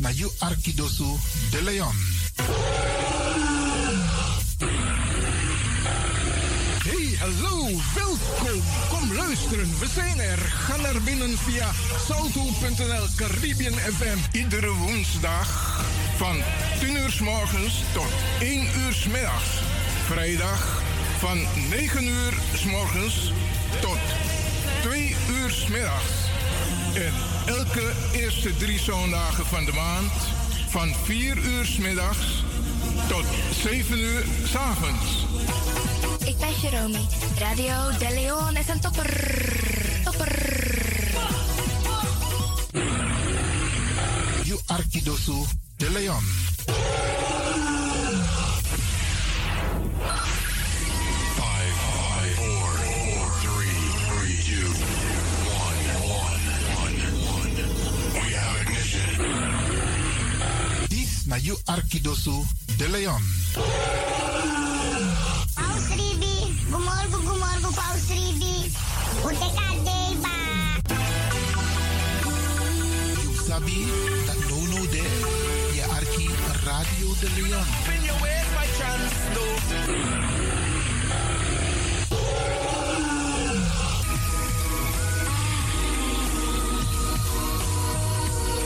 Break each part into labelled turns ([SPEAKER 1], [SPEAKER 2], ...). [SPEAKER 1] na yu Arkidosu de Leon.
[SPEAKER 2] Hey, hallo, welkom. Kom luisteren, we zijn er. Ga naar binnen via salto.nl Caribbean FM.
[SPEAKER 1] Iedere woensdag van 10 uur s morgens tot 1 uur s middags. Vrijdag van 9 uur s morgens tot 2 uur s middags. En elke eerste drie zondagen van de maand van 4 uur s middags tot 7 uur s avonds.
[SPEAKER 3] Ik ben Jerome. Radio De Leon is een topper. Topper.
[SPEAKER 1] Yu Arkidosu de Leon.
[SPEAKER 4] Five, five, four, four, three, three, two, one, one, one, one. We have ignition.
[SPEAKER 1] Dis na Yu Arkidosu de Leon.
[SPEAKER 5] Paus Ribi, gumorgo, gumorgo, Paus Ribi. O Decadeiba.
[SPEAKER 1] You sabi dat no no de je Arki Radio de Leon.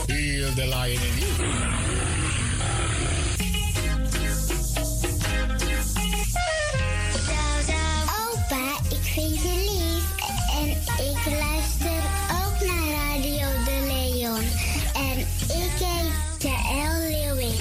[SPEAKER 6] Feel the lion in you.
[SPEAKER 5] Opa, ik vind je lief. En ik luister ook naar Radio De Leon. En ik heet Jaël Leeuwen.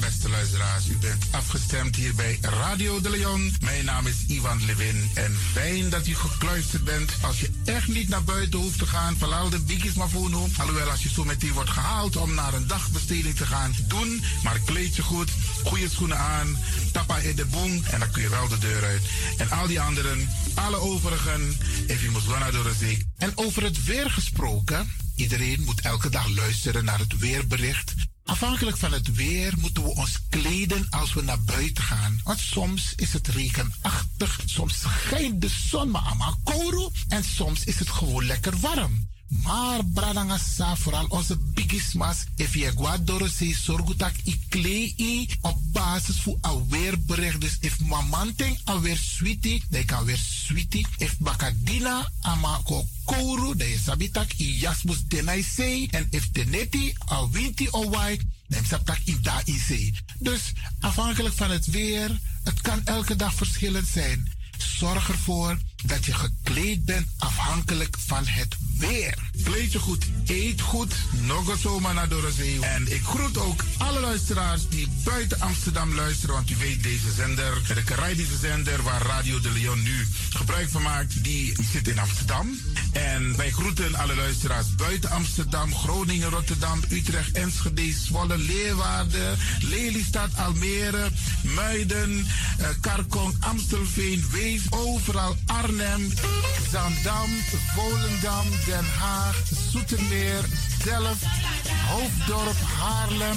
[SPEAKER 1] Beste luisteraars, u bent afgestemd hier bij Radio de Leon. Mijn naam is Ivan Levin en fijn dat u gekluisterd bent. Als je echt niet naar buiten hoeft te gaan, verlaal de biggies maar voor nu. Alhoewel, als je zo meteen wordt gehaald om naar een dagbesteding te gaan, doen. Maar kleed je goed, goede schoenen aan, tappa in de boom en dan kun je wel de deur uit. En al die anderen, alle overigen, if you must go naar door de zee. En over het weer gesproken, iedereen moet elke dag luisteren naar het weerbericht. Afhankelijk van het weer moeten we ons kleden als we naar buiten gaan. Want soms is het regenachtig, soms schijnt de zon maar allemaal kouro en soms is het gewoon lekker warm. Maar bradangasa, vooral onze bigismas, if je guadoro se sorgutak i klei op basis voor een weerbericht. Dus if mamanting a weer sweetie, dan kan weer sweetie. If bakadina amako kouru, dan is sabitak i jasmus denai sei. En if deneti a winti o wai, dan sabitak i da i sei. Dus afhankelijk van het weer, het kan elke dag verschillend zijn. Zorg ervoor dat je gekleed bent afhankelijk van het weer. Kleed je goed, eet goed. Nog een zomaar naar Dorozee. En ik groet ook alle luisteraars die buiten Amsterdam luisteren. Want u weet, deze zender, de Caribische zender waar Radio de Leon nu gebruik van maakt, die zit in Amsterdam. En wij groeten alle luisteraars buiten Amsterdam, Groningen, Rotterdam, Utrecht, Enschede, Zwolle, Leeuwarden, Lelystad, Almere, Muiden, eh, Karkong, Amstelveen, Wees, overal Arnhem, Zandam, Volendam, Den Haag, Zoetermeer, Delft, Hoofddorp, Haarlem,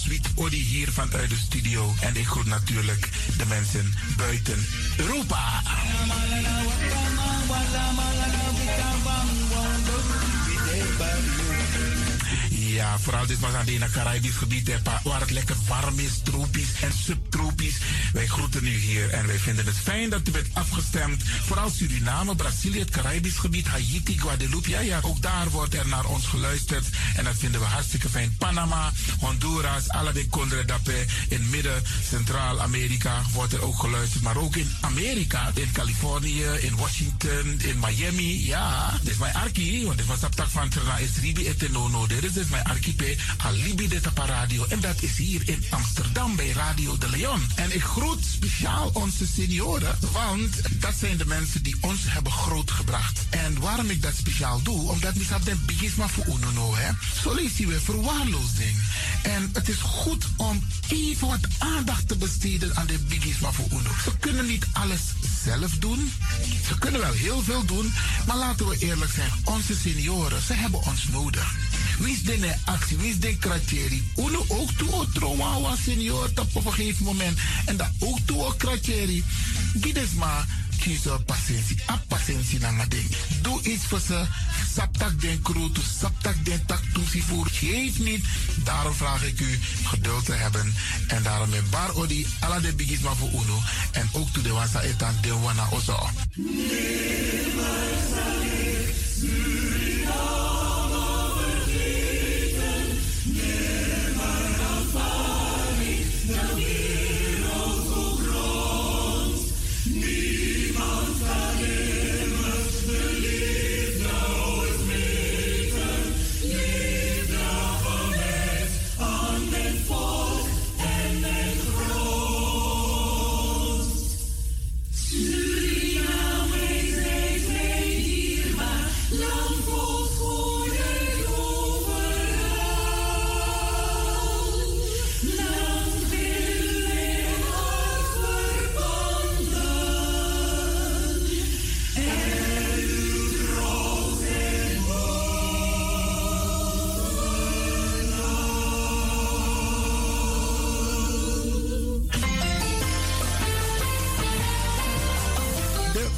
[SPEAKER 1] Sweet Odi hier vanuit de studio. En ik groet natuurlijk de mensen buiten Europa. Ja, vooral dit was aan het Caribisch gebied, hè, pa- waar het lekker warm is, tropisch en subtropisch. Wij groeten u hier en wij vinden het fijn dat u bent afgestemd. Vooral Suriname, Brazilië, het Caribisch gebied, Haiti, Guadeloupe. Ja, ja, ook daar wordt er naar ons geluisterd en dat vinden we hartstikke fijn. Panama, Honduras, Aladdin Condre Dapé, in midden, Centraal-Amerika wordt er ook geluisterd. Maar ook in Amerika, in Californië, in Washington, in Miami. Ja, dit is mijn arki, want dit was op tak van Trana is Ribi Etenono. Dit is dit is mijn Arkipe Alibi de Tapa Radio. En dat is hier in Amsterdam bij Radio de Leon. En ik groet speciaal onze senioren, want dat zijn de mensen die ons hebben grootgebracht. En waarom ik dat speciaal doe, omdat we den bigisma voor Unono, hè. Zo lezen we verwaarloosding. En het is goed om even wat aandacht te besteden aan de bigisma voor Uno. Ze kunnen niet alles zelf doen. Ze kunnen wel heel veel doen, maar laten we eerlijk zijn. Onze senioren, ze hebben ons nodig. Wie is de actie? Wie is de kratjeri? Uno ook toe o trouwawa senior tap op een gegeven moment. En dat ook toe o kratjeri. Gides maar kies uh, patiëntie. A patiëntie na ma ding. Doe iets voor ze. Saptak den kroto, saptak den tak toesie voor. Geef niet. Daarom vraag ik u geduld te hebben. En daarom met bar odi, ala de bigisma voor uno. En ook toe de wasa etan de wana ozo.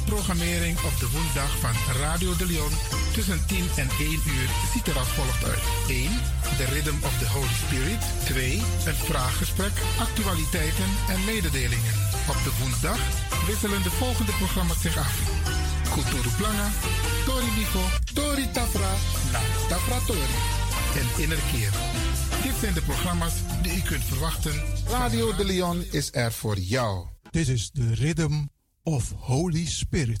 [SPEAKER 1] programmering op de woensdag van Radio de Leon tussen 10 en 1 uur ziet er als volgt uit. 1. De Rhythm of the Holy Spirit. 2. Een vraaggesprek, actualiteiten en mededelingen. Op de woensdag wisselen de volgende programma's zich af. Cultura Plana, Tori Bifo, Tori Tafra, Na Tafra Tori en Innerkeer. Dit zijn de programma's die u kunt verwachten. Radio de Leon is er voor jou.
[SPEAKER 7] Dit is de Rhythm of Holy Spirit.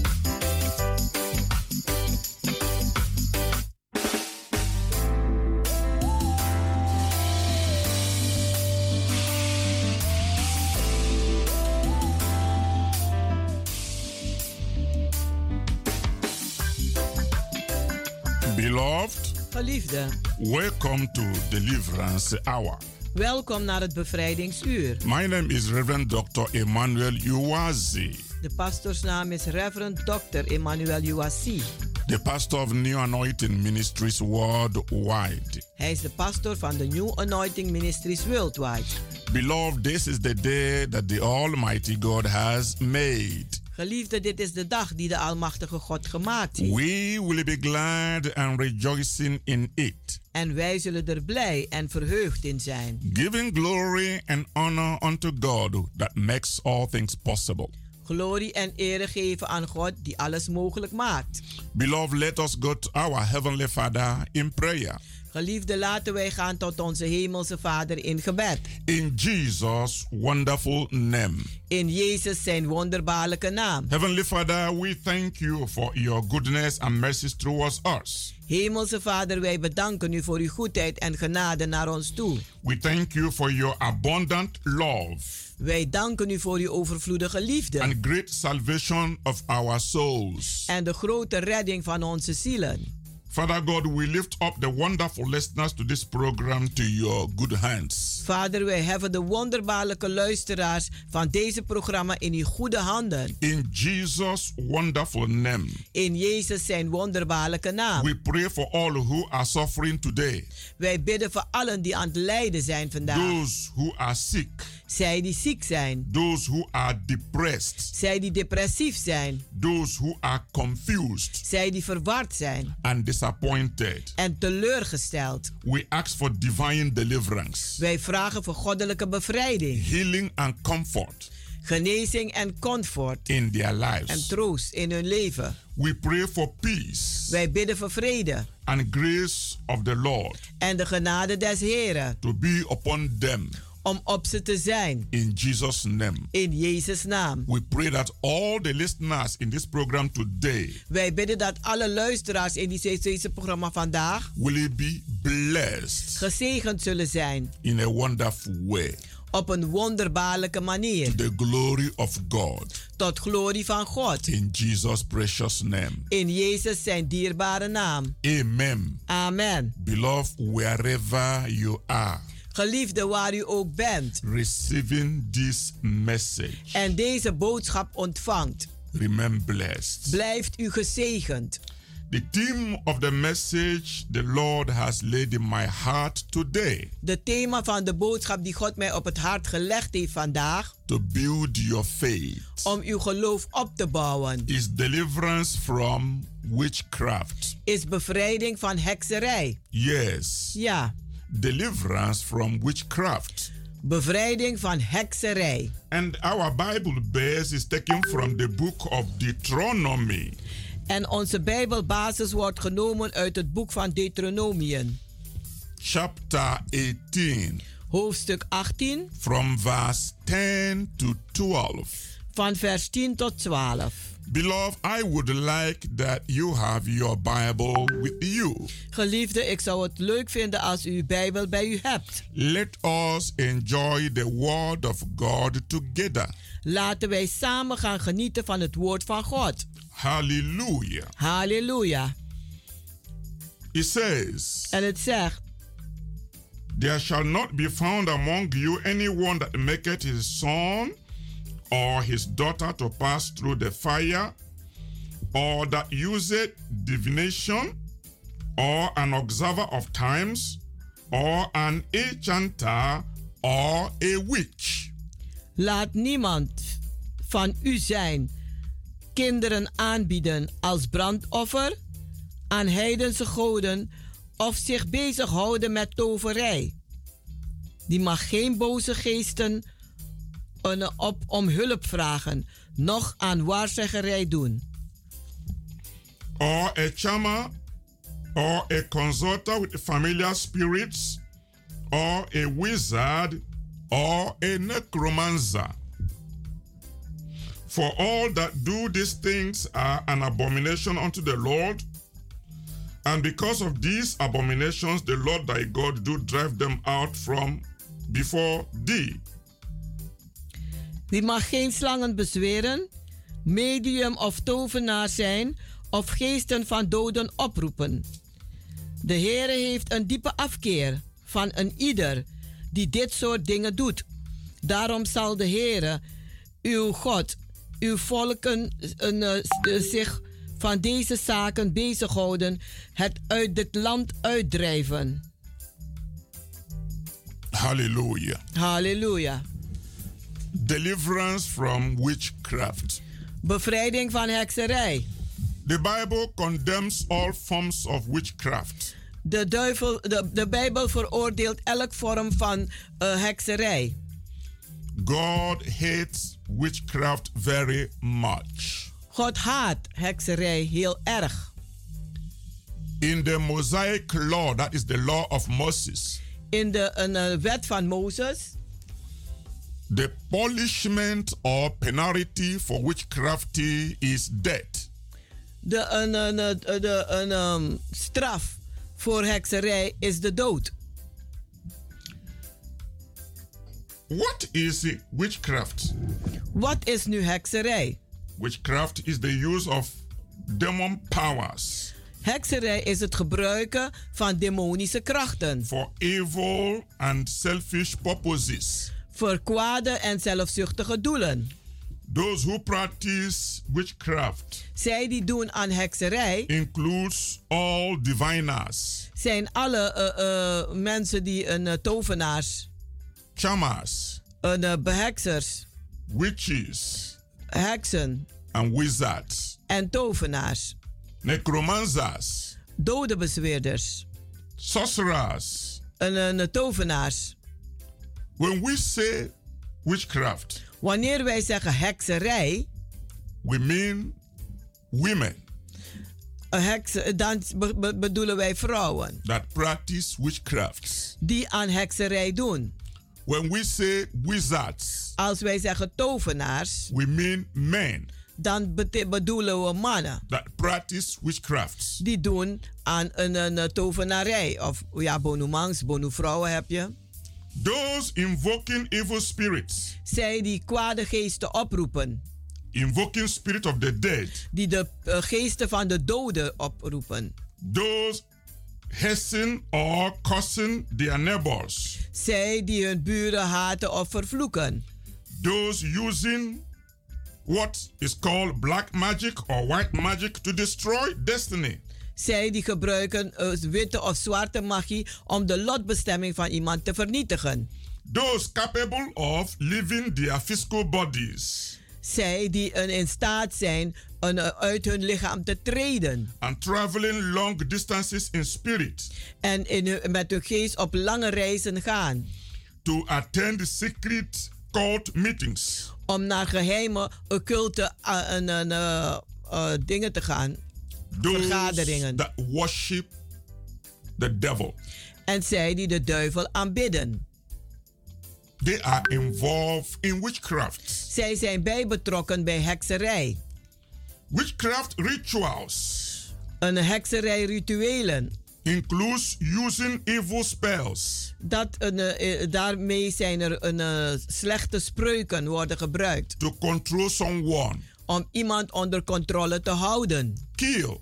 [SPEAKER 8] Beloved,
[SPEAKER 9] Geliefde,
[SPEAKER 8] welcome to Deliverance Hour.
[SPEAKER 9] welkom naar het bevrijdingsuur.
[SPEAKER 8] My name is Reverend Dr. Emmanuel Uwazi,
[SPEAKER 9] De pastorsnaam is Reverend Dr. Emmanuel Uwasi.
[SPEAKER 8] the pastor of New Anointing Ministries worldwide.
[SPEAKER 9] Hij is de pastor van de New Anointing Ministries Worldwide.
[SPEAKER 8] Beloved, this is the day that the Almighty God has made.
[SPEAKER 9] Geliefde, dit is de dag die de Almachtige God gemaakt heeft.
[SPEAKER 8] We will be glad and rejoicing in it,
[SPEAKER 9] En wij zullen er blij en verheugd in zijn.
[SPEAKER 8] giving glory and honor unto God that makes all things possible.
[SPEAKER 9] Glorie en ere geven aan God die alles mogelijk maakt.
[SPEAKER 8] Beloved, let us go to our Heavenly Father in prayer.
[SPEAKER 9] Geliefde, laten wij gaan tot onze Hemelse Vader in gebed.
[SPEAKER 8] In Jesus' wonderful name.
[SPEAKER 9] In Jezus zijn wonderbaarlijke naam.
[SPEAKER 8] Heavenly Father, we thank you for your goodness and mercies towards us.
[SPEAKER 9] Hemelse Vader, wij bedanken u voor uw goedheid en genade naar ons toe.
[SPEAKER 8] We thank you for your abundant love
[SPEAKER 9] Wij danken u voor uw overvloedige liefde
[SPEAKER 8] and great salvation of our souls.
[SPEAKER 9] en de grote redding van onze zielen.
[SPEAKER 8] Father God, we lift up the wonderful listeners to this program to your good hands.
[SPEAKER 9] Vader, wij hebben de wonderbaarlijke luisteraars van deze programma in uw goede handen.
[SPEAKER 8] In Jesus' wonderful name,
[SPEAKER 9] In Jezus zijn wonderbaarlijke naam.
[SPEAKER 8] we pray for all who are suffering today,
[SPEAKER 9] Wij bidden voor allen die aan het lijden zijn vandaag.
[SPEAKER 8] those who are sick,
[SPEAKER 9] Zij die ziek zijn.
[SPEAKER 8] those who are depressed,
[SPEAKER 9] Zij die depressief zijn.
[SPEAKER 8] those who are confused
[SPEAKER 9] Zij die verward zijn
[SPEAKER 8] and disappointed.
[SPEAKER 9] en teleurgesteld.
[SPEAKER 8] We ask for divine deliverance,
[SPEAKER 9] Wij vragen voor goddelijke bevrijding,
[SPEAKER 8] healing, and comfort
[SPEAKER 9] genezing en comfort
[SPEAKER 8] in their
[SPEAKER 9] en
[SPEAKER 8] lives.
[SPEAKER 9] troost in hun leven.
[SPEAKER 8] We pray for peace
[SPEAKER 9] Wij bidden voor vrede
[SPEAKER 8] and grace of the Lord
[SPEAKER 9] en de genade des Heren
[SPEAKER 8] to be upon them
[SPEAKER 9] om op ze te zijn.
[SPEAKER 8] in Jesus' name.
[SPEAKER 9] In Jezus' naam.
[SPEAKER 8] We pray that all the listeners in this program today
[SPEAKER 9] Wij bidden dat alle luisteraars in die- deze programma vandaag
[SPEAKER 8] will be blessed
[SPEAKER 9] gezegend zullen zijn.
[SPEAKER 8] in a wonderful way
[SPEAKER 9] Op een wonderbaarlijke
[SPEAKER 8] to
[SPEAKER 9] manier.
[SPEAKER 8] the glory of God
[SPEAKER 9] Tot glorie van God.
[SPEAKER 8] in Jesus' precious name.
[SPEAKER 9] In Jezus zijn dierbare naam.
[SPEAKER 8] Amen.
[SPEAKER 9] Amen.
[SPEAKER 8] Beloved, wherever you are
[SPEAKER 9] Geliefde waar u ook bent
[SPEAKER 8] receiving this message,
[SPEAKER 9] en deze boodschap ontvangt,
[SPEAKER 8] remain blessed.
[SPEAKER 9] blijft u gezegend.
[SPEAKER 8] The theme of the message the Lord has laid in my heart today
[SPEAKER 9] De thema van de boodschap die God mij op het hart gelegd heeft vandaag,
[SPEAKER 8] to build your faith
[SPEAKER 9] om uw geloof op te bouwen,
[SPEAKER 8] is deliverance from witchcraft.
[SPEAKER 9] is bevrijding van hekserij.
[SPEAKER 8] Yes,
[SPEAKER 9] Ja,
[SPEAKER 8] deliverance from witchcraft.
[SPEAKER 9] bevrijding van hekserij.
[SPEAKER 8] And our Bible base is taken from the book of Deuteronomy,
[SPEAKER 9] En onze Bijbelbasis wordt genomen uit het boek van Deuteronomium,
[SPEAKER 8] chapter 18,
[SPEAKER 9] hoofdstuk 18,
[SPEAKER 8] from verse 10 to 12.
[SPEAKER 9] van vers 10 tot 12.
[SPEAKER 8] Beloved, I would like that you have your Bible with you.
[SPEAKER 9] Geliefde, ik zou het leuk vinden als u uw Bijbel bij u hebt.
[SPEAKER 8] Let us enjoy the Word of God together.
[SPEAKER 9] Laten wij samen gaan genieten van het woord van God.
[SPEAKER 8] Hallelujah.
[SPEAKER 9] Halleluja.
[SPEAKER 8] It says,
[SPEAKER 9] En het zegt:
[SPEAKER 8] There shall not be found among you anyone that maketh his son or his daughter to pass through the fire, or that useth divination, or an observer of times, or an enchanter, or a witch.
[SPEAKER 9] Laat niemand van u zijn kinderen aanbieden als brandoffer aan heidense goden of zich bezighouden met toverij. Die mag geen boze geesten eh, op om hulp vragen, noch aan waarzeggerij doen.
[SPEAKER 8] or a charmer, or a consulter with familiar spirits, or a wizard, or a necromancer. For all that do these things are an abomination unto the Lord. And because of these abominations, the Lord thy God do drive them out from before thee.
[SPEAKER 9] Die mag geen slangen bezweren, medium of tovenaar zijn of geesten van doden oproepen. De Heere heeft een diepe afkeer van een ieder die dit soort dingen doet. Daarom zal de Heere, uw God, uw volken een, eh, s- eh, zich van deze zaken bezighouden, het uit dit land uitdrijven.
[SPEAKER 8] Hallelujah.
[SPEAKER 9] Halleluja.
[SPEAKER 8] Deliverance from witchcraft.
[SPEAKER 9] Bevrijding van hekserij.
[SPEAKER 8] The Bible condemns all forms of witchcraft.
[SPEAKER 9] De, duivel, de, de Bijbel veroordeelt elk vorm van eh, hekserij.
[SPEAKER 8] God hates witchcraft very much.
[SPEAKER 9] God haat hekserij heel erg.
[SPEAKER 8] In the Mosaic law, that is the law of Moses,
[SPEAKER 9] In de een, eh, wet van Mozes
[SPEAKER 8] the punishment or penalty for witchcraft is death.
[SPEAKER 9] de, een, een, eh, de, een ehm, straf voor hekserij is de dood.
[SPEAKER 8] What is witchcraft?
[SPEAKER 9] Wat is nu hekserij?
[SPEAKER 8] Witchcraft is the use of demon powers
[SPEAKER 9] Hekserij is het gebruiken van demonische krachten
[SPEAKER 8] for evil and selfish purposes.
[SPEAKER 9] voor kwade en zelfzuchtige doelen.
[SPEAKER 8] Those who practice witchcraft
[SPEAKER 9] Zij die doen aan hekserij
[SPEAKER 8] includes all diviners,
[SPEAKER 9] zijn alle eh, eh, mensen die een eh, tovenaars,
[SPEAKER 8] charmers,
[SPEAKER 9] een eh, beheksers,
[SPEAKER 8] witches,
[SPEAKER 9] heksen
[SPEAKER 8] and wizards,
[SPEAKER 9] en tovenaars,
[SPEAKER 8] necromancers,
[SPEAKER 9] dodenbezweerders,
[SPEAKER 8] sorcerers.
[SPEAKER 9] een, een eh, tovenaars.
[SPEAKER 8] When we say witchcraft,
[SPEAKER 9] Wanneer wij zeggen hekserij,
[SPEAKER 8] we mean women
[SPEAKER 9] een heks, eh, dan be- be- bedoelen wij vrouwen
[SPEAKER 8] that practice witchcraft.
[SPEAKER 9] die aan hekserij doen.
[SPEAKER 8] When we say wizards,
[SPEAKER 9] Als wij zeggen tovenaars,
[SPEAKER 8] we mean men
[SPEAKER 9] dan bete- bedoelen we mannen
[SPEAKER 8] that practice witchcraft.
[SPEAKER 9] die doen aan een, een eh, tovenarij. Of ja, bonumans, bonuvrouwen heb je.
[SPEAKER 8] Those invoking evil spirits,
[SPEAKER 9] Zij die kwade geesten oproepen.
[SPEAKER 8] invoking spirit of the dead,
[SPEAKER 9] Die de eh, geesten van de doden oproepen.
[SPEAKER 8] those hissing or cursing their neighbors,
[SPEAKER 9] Zij die hun buren haten of vervloeken.
[SPEAKER 8] those using what is called black magic or white magic to destroy destiny.
[SPEAKER 9] Zij die gebruiken eh, witte of zwarte magie om de lotbestemming van iemand te vernietigen.
[SPEAKER 8] Those capable of leaving their physical bodies
[SPEAKER 9] Zij die een in staat zijn een, eh, uit hun lichaam te treden.
[SPEAKER 8] and traveling long distances in spirit
[SPEAKER 9] En in, hun- met hun geest op lange reizen gaan.
[SPEAKER 8] to attend secret cult meetings,
[SPEAKER 9] Om naar geheime occulte ah, en, en, eh, eh, dingen te gaan.
[SPEAKER 8] those
[SPEAKER 9] Vergaderingen.
[SPEAKER 8] that worship the devil.
[SPEAKER 9] En zij die de duivel aanbidden.
[SPEAKER 8] They are involved in witchcraft.
[SPEAKER 9] Zij zijn bij betrokken bij hekserij.
[SPEAKER 8] Witchcraft rituals
[SPEAKER 9] Een hekserijrituelen.
[SPEAKER 8] includes using evil spells
[SPEAKER 9] Dat een, eh, eh, daarmee zijn er een, eh, slechte spreuken worden gebruikt.
[SPEAKER 8] to control someone,
[SPEAKER 9] Om iemand onder controle te houden.
[SPEAKER 8] kill,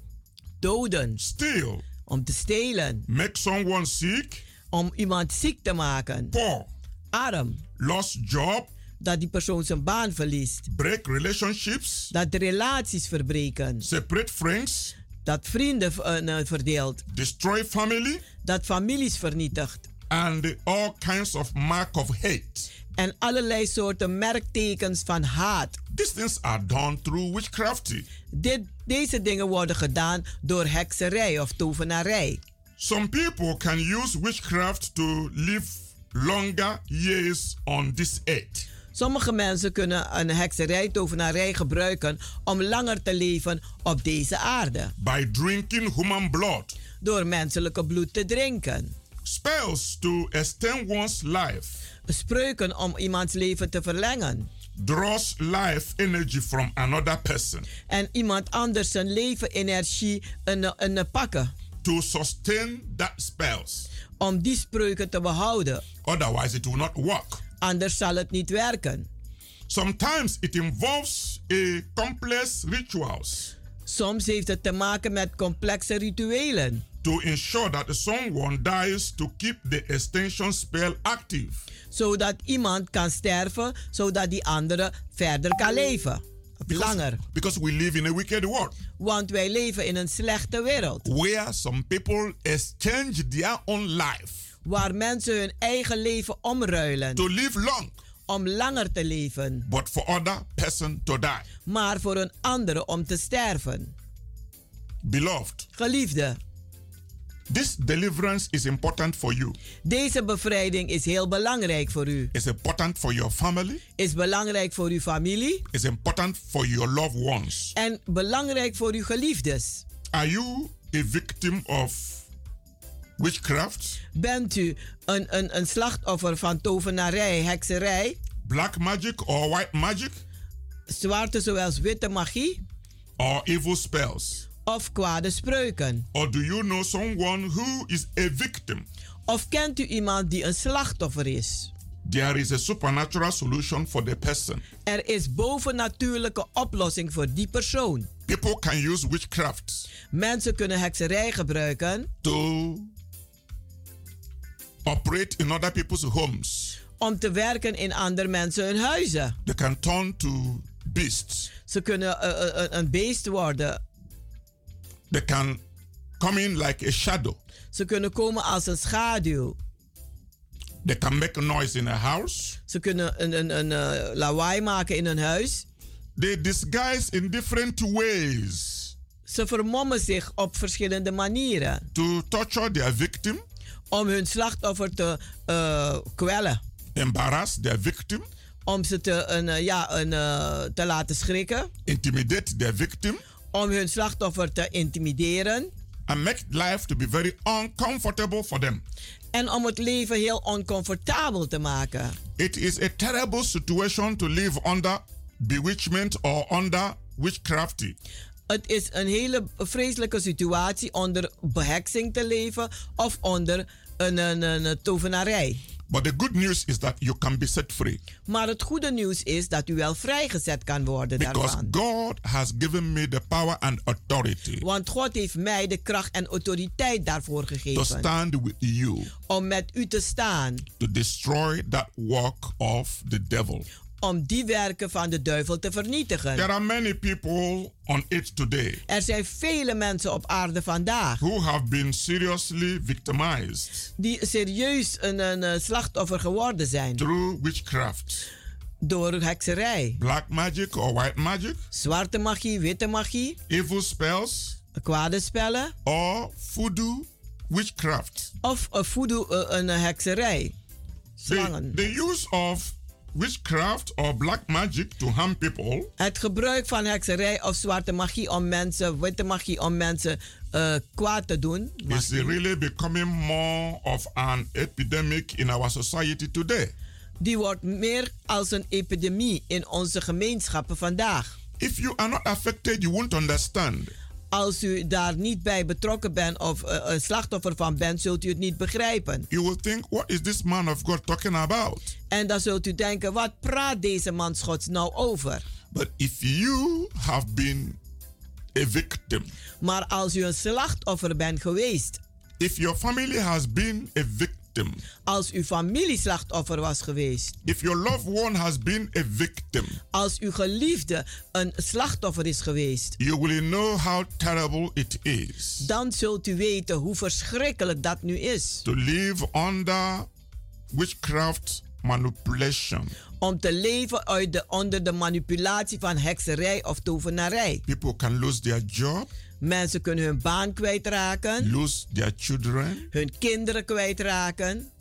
[SPEAKER 9] Doden.
[SPEAKER 8] steal,
[SPEAKER 9] Om te stelen.
[SPEAKER 8] make someone sick,
[SPEAKER 9] Om iemand ziek te maken.
[SPEAKER 8] poor,
[SPEAKER 9] Arm.
[SPEAKER 8] lost job,
[SPEAKER 9] Dat die persoon zijn baan verliest.
[SPEAKER 8] break relationships,
[SPEAKER 9] Dat de relaties verbreken.
[SPEAKER 8] separate friends,
[SPEAKER 9] Dat vrienden eh, eh, verdeelt.
[SPEAKER 8] destroy family,
[SPEAKER 9] Dat families vernietigt.
[SPEAKER 8] and all kinds of mark of hate.
[SPEAKER 9] En allerlei soorten merktekens van haat.
[SPEAKER 8] These things are done through witchcraft.
[SPEAKER 9] Dit, deze dingen worden gedaan door hekserij of tovenarij.
[SPEAKER 8] Some people can use witchcraft to live longer years on this earth.
[SPEAKER 9] Sommige mensen kunnen een hekserij, tovenarij gebruiken om langer te leven op deze aarde.
[SPEAKER 8] by drinking human blood,
[SPEAKER 9] Door menselijke bloed te drinken.
[SPEAKER 8] spells to extend one's life,
[SPEAKER 9] Spreuken om iemands leven te verlengen.
[SPEAKER 8] draws life energy from another person
[SPEAKER 9] En iemand anders zijn leven, energie en, en pakken.
[SPEAKER 8] to sustain that spells.
[SPEAKER 9] Om die spreuken te behouden.
[SPEAKER 8] Otherwise, it will not work.
[SPEAKER 9] Anders zal het niet werken.
[SPEAKER 8] Sometimes it involves a complex rituals
[SPEAKER 9] Soms heeft het te maken met complexe rituelen.
[SPEAKER 8] to ensure that someone dies to keep the extension spell active.
[SPEAKER 9] Zodat iemand kan sterven, zodat die andere verder kan leven. Of Langer.
[SPEAKER 8] because we live in a wicked world
[SPEAKER 9] Want wij leven in een slechte wereld.
[SPEAKER 8] where some people exchange their own life
[SPEAKER 9] Waar mensen hun eigen leven omruilen.
[SPEAKER 8] to live long
[SPEAKER 9] Om langer te leven.
[SPEAKER 8] but for other person to die.
[SPEAKER 9] Maar voor een andere om te sterven.
[SPEAKER 8] Beloved,
[SPEAKER 9] Geliefde,
[SPEAKER 8] this deliverance is important for you.
[SPEAKER 9] deze bevrijding is heel belangrijk voor u.
[SPEAKER 8] It's important for your family.
[SPEAKER 9] Is belangrijk voor uw familie.
[SPEAKER 8] It's important for your loved ones.
[SPEAKER 9] En belangrijk voor uw geliefdes.
[SPEAKER 8] Are you a victim of witchcraft,
[SPEAKER 9] Bent u een, een, een slachtoffer van tovenarij, hekserij,
[SPEAKER 8] black magic, or white magic,
[SPEAKER 9] zwarte zoals witte magie
[SPEAKER 8] or evil spells?
[SPEAKER 9] of kwade spreuken?
[SPEAKER 8] Or do you know someone who is a victim?
[SPEAKER 9] Of kent u iemand die een slachtoffer is?
[SPEAKER 8] There is a supernatural solution for the person.
[SPEAKER 9] Er is bovennatuurlijke oplossing voor die persoon.
[SPEAKER 8] People can use witchcraft
[SPEAKER 9] Mensen kunnen hekserij gebruiken
[SPEAKER 8] to operate in other people's homes.
[SPEAKER 9] om te werken in andere mensen hun huizen.
[SPEAKER 8] They can turn to beasts.
[SPEAKER 9] Ze kunnen eh, eh, eh, een beest worden.
[SPEAKER 8] They can come in like a shadow.
[SPEAKER 9] Ze kunnen komen als een schaduw.
[SPEAKER 8] They can make noise in a house.
[SPEAKER 9] Ze kunnen een, een, een eh, lawaai maken in hun huis.
[SPEAKER 8] They disguise in different ways
[SPEAKER 9] Ze vermommen zich op verschillende manieren
[SPEAKER 8] to torture their victim,
[SPEAKER 9] om hun slachtoffer te eh, kwellen.
[SPEAKER 8] embarrass their victim,
[SPEAKER 9] Om ze te, een, eh, ja, een, eh, te laten schrikken.
[SPEAKER 8] intimidate their victim,
[SPEAKER 9] Om hun slachtoffer te intimideren.
[SPEAKER 8] and make life to be very uncomfortable for them.
[SPEAKER 9] En om het leven heel oncomfortabel te maken.
[SPEAKER 8] It is a terrible situation to live under bewitchment or under witchcraft.
[SPEAKER 9] Het is een hele vreselijke situatie onder beheksing te leven of onder een, een, een, een tovenarij.
[SPEAKER 8] But the good news is that you can be set free
[SPEAKER 9] Maar het goede nieuws is dat u wel vrijgezet kan worden
[SPEAKER 8] because
[SPEAKER 9] daarvan.
[SPEAKER 8] God has given me the power and authority
[SPEAKER 9] Want God heeft mij de kracht en autoriteit daarvoor
[SPEAKER 8] to
[SPEAKER 9] gegeven.
[SPEAKER 8] stand with you
[SPEAKER 9] Om met u te staan.
[SPEAKER 8] to destroy that work of the devil.
[SPEAKER 9] Om die werken van de duivel te vernietigen.
[SPEAKER 8] There are many people on it today
[SPEAKER 9] Er zijn vele mensen op aarde vandaag
[SPEAKER 8] who have been seriously victimized
[SPEAKER 9] die serieus een, een eh, slachtoffer geworden zijn.
[SPEAKER 8] through witchcraft,
[SPEAKER 9] Door hekserij.
[SPEAKER 8] black magic or white magic,
[SPEAKER 9] Zwarte magie, witte magie,
[SPEAKER 8] evil spells,
[SPEAKER 9] kwade spellen
[SPEAKER 8] or voodoo witchcraft.
[SPEAKER 9] of een voodoo, eh, een hekserij.
[SPEAKER 8] The,
[SPEAKER 9] Slangen.
[SPEAKER 8] the use of witchcraft or black magic to harm people
[SPEAKER 9] Het gebruik van hekserij of zwarte magie om mensen, witte magie om mensen eh, kwaad te doen.
[SPEAKER 8] is really becoming more of an epidemic in our society today.
[SPEAKER 9] die wordt meer als een epidemie in onze gemeenschappen vandaag.
[SPEAKER 8] If you are not affected, you won't understand.
[SPEAKER 9] Als u daar niet bij betrokken bent of eh, een slachtoffer van bent, zult u het niet begrijpen.
[SPEAKER 8] You will think, what is this man of God talking about?
[SPEAKER 9] En dan zult u denken, wat praat deze man Schots nou over?
[SPEAKER 8] But if you have been a victim,
[SPEAKER 9] Maar als u een slachtoffer bent geweest,
[SPEAKER 8] if your family has been a victim,
[SPEAKER 9] als uw familie slachtoffer was geweest,
[SPEAKER 8] if your loved one has been a victim,
[SPEAKER 9] als uw geliefde een slachtoffer is geweest,
[SPEAKER 8] you will know how terrible it is
[SPEAKER 9] dan zult u weten hoe verschrikkelijk dat nu is.
[SPEAKER 8] to live under witchcraft manipulation.
[SPEAKER 9] Om te leven uit de, onder de manipulatie van hekserij of tovenarij.
[SPEAKER 8] People can lose their job,
[SPEAKER 9] Mensen kunnen hun baan kwijtraken,
[SPEAKER 8] lose their children,
[SPEAKER 9] hun kinderen kwijtraken,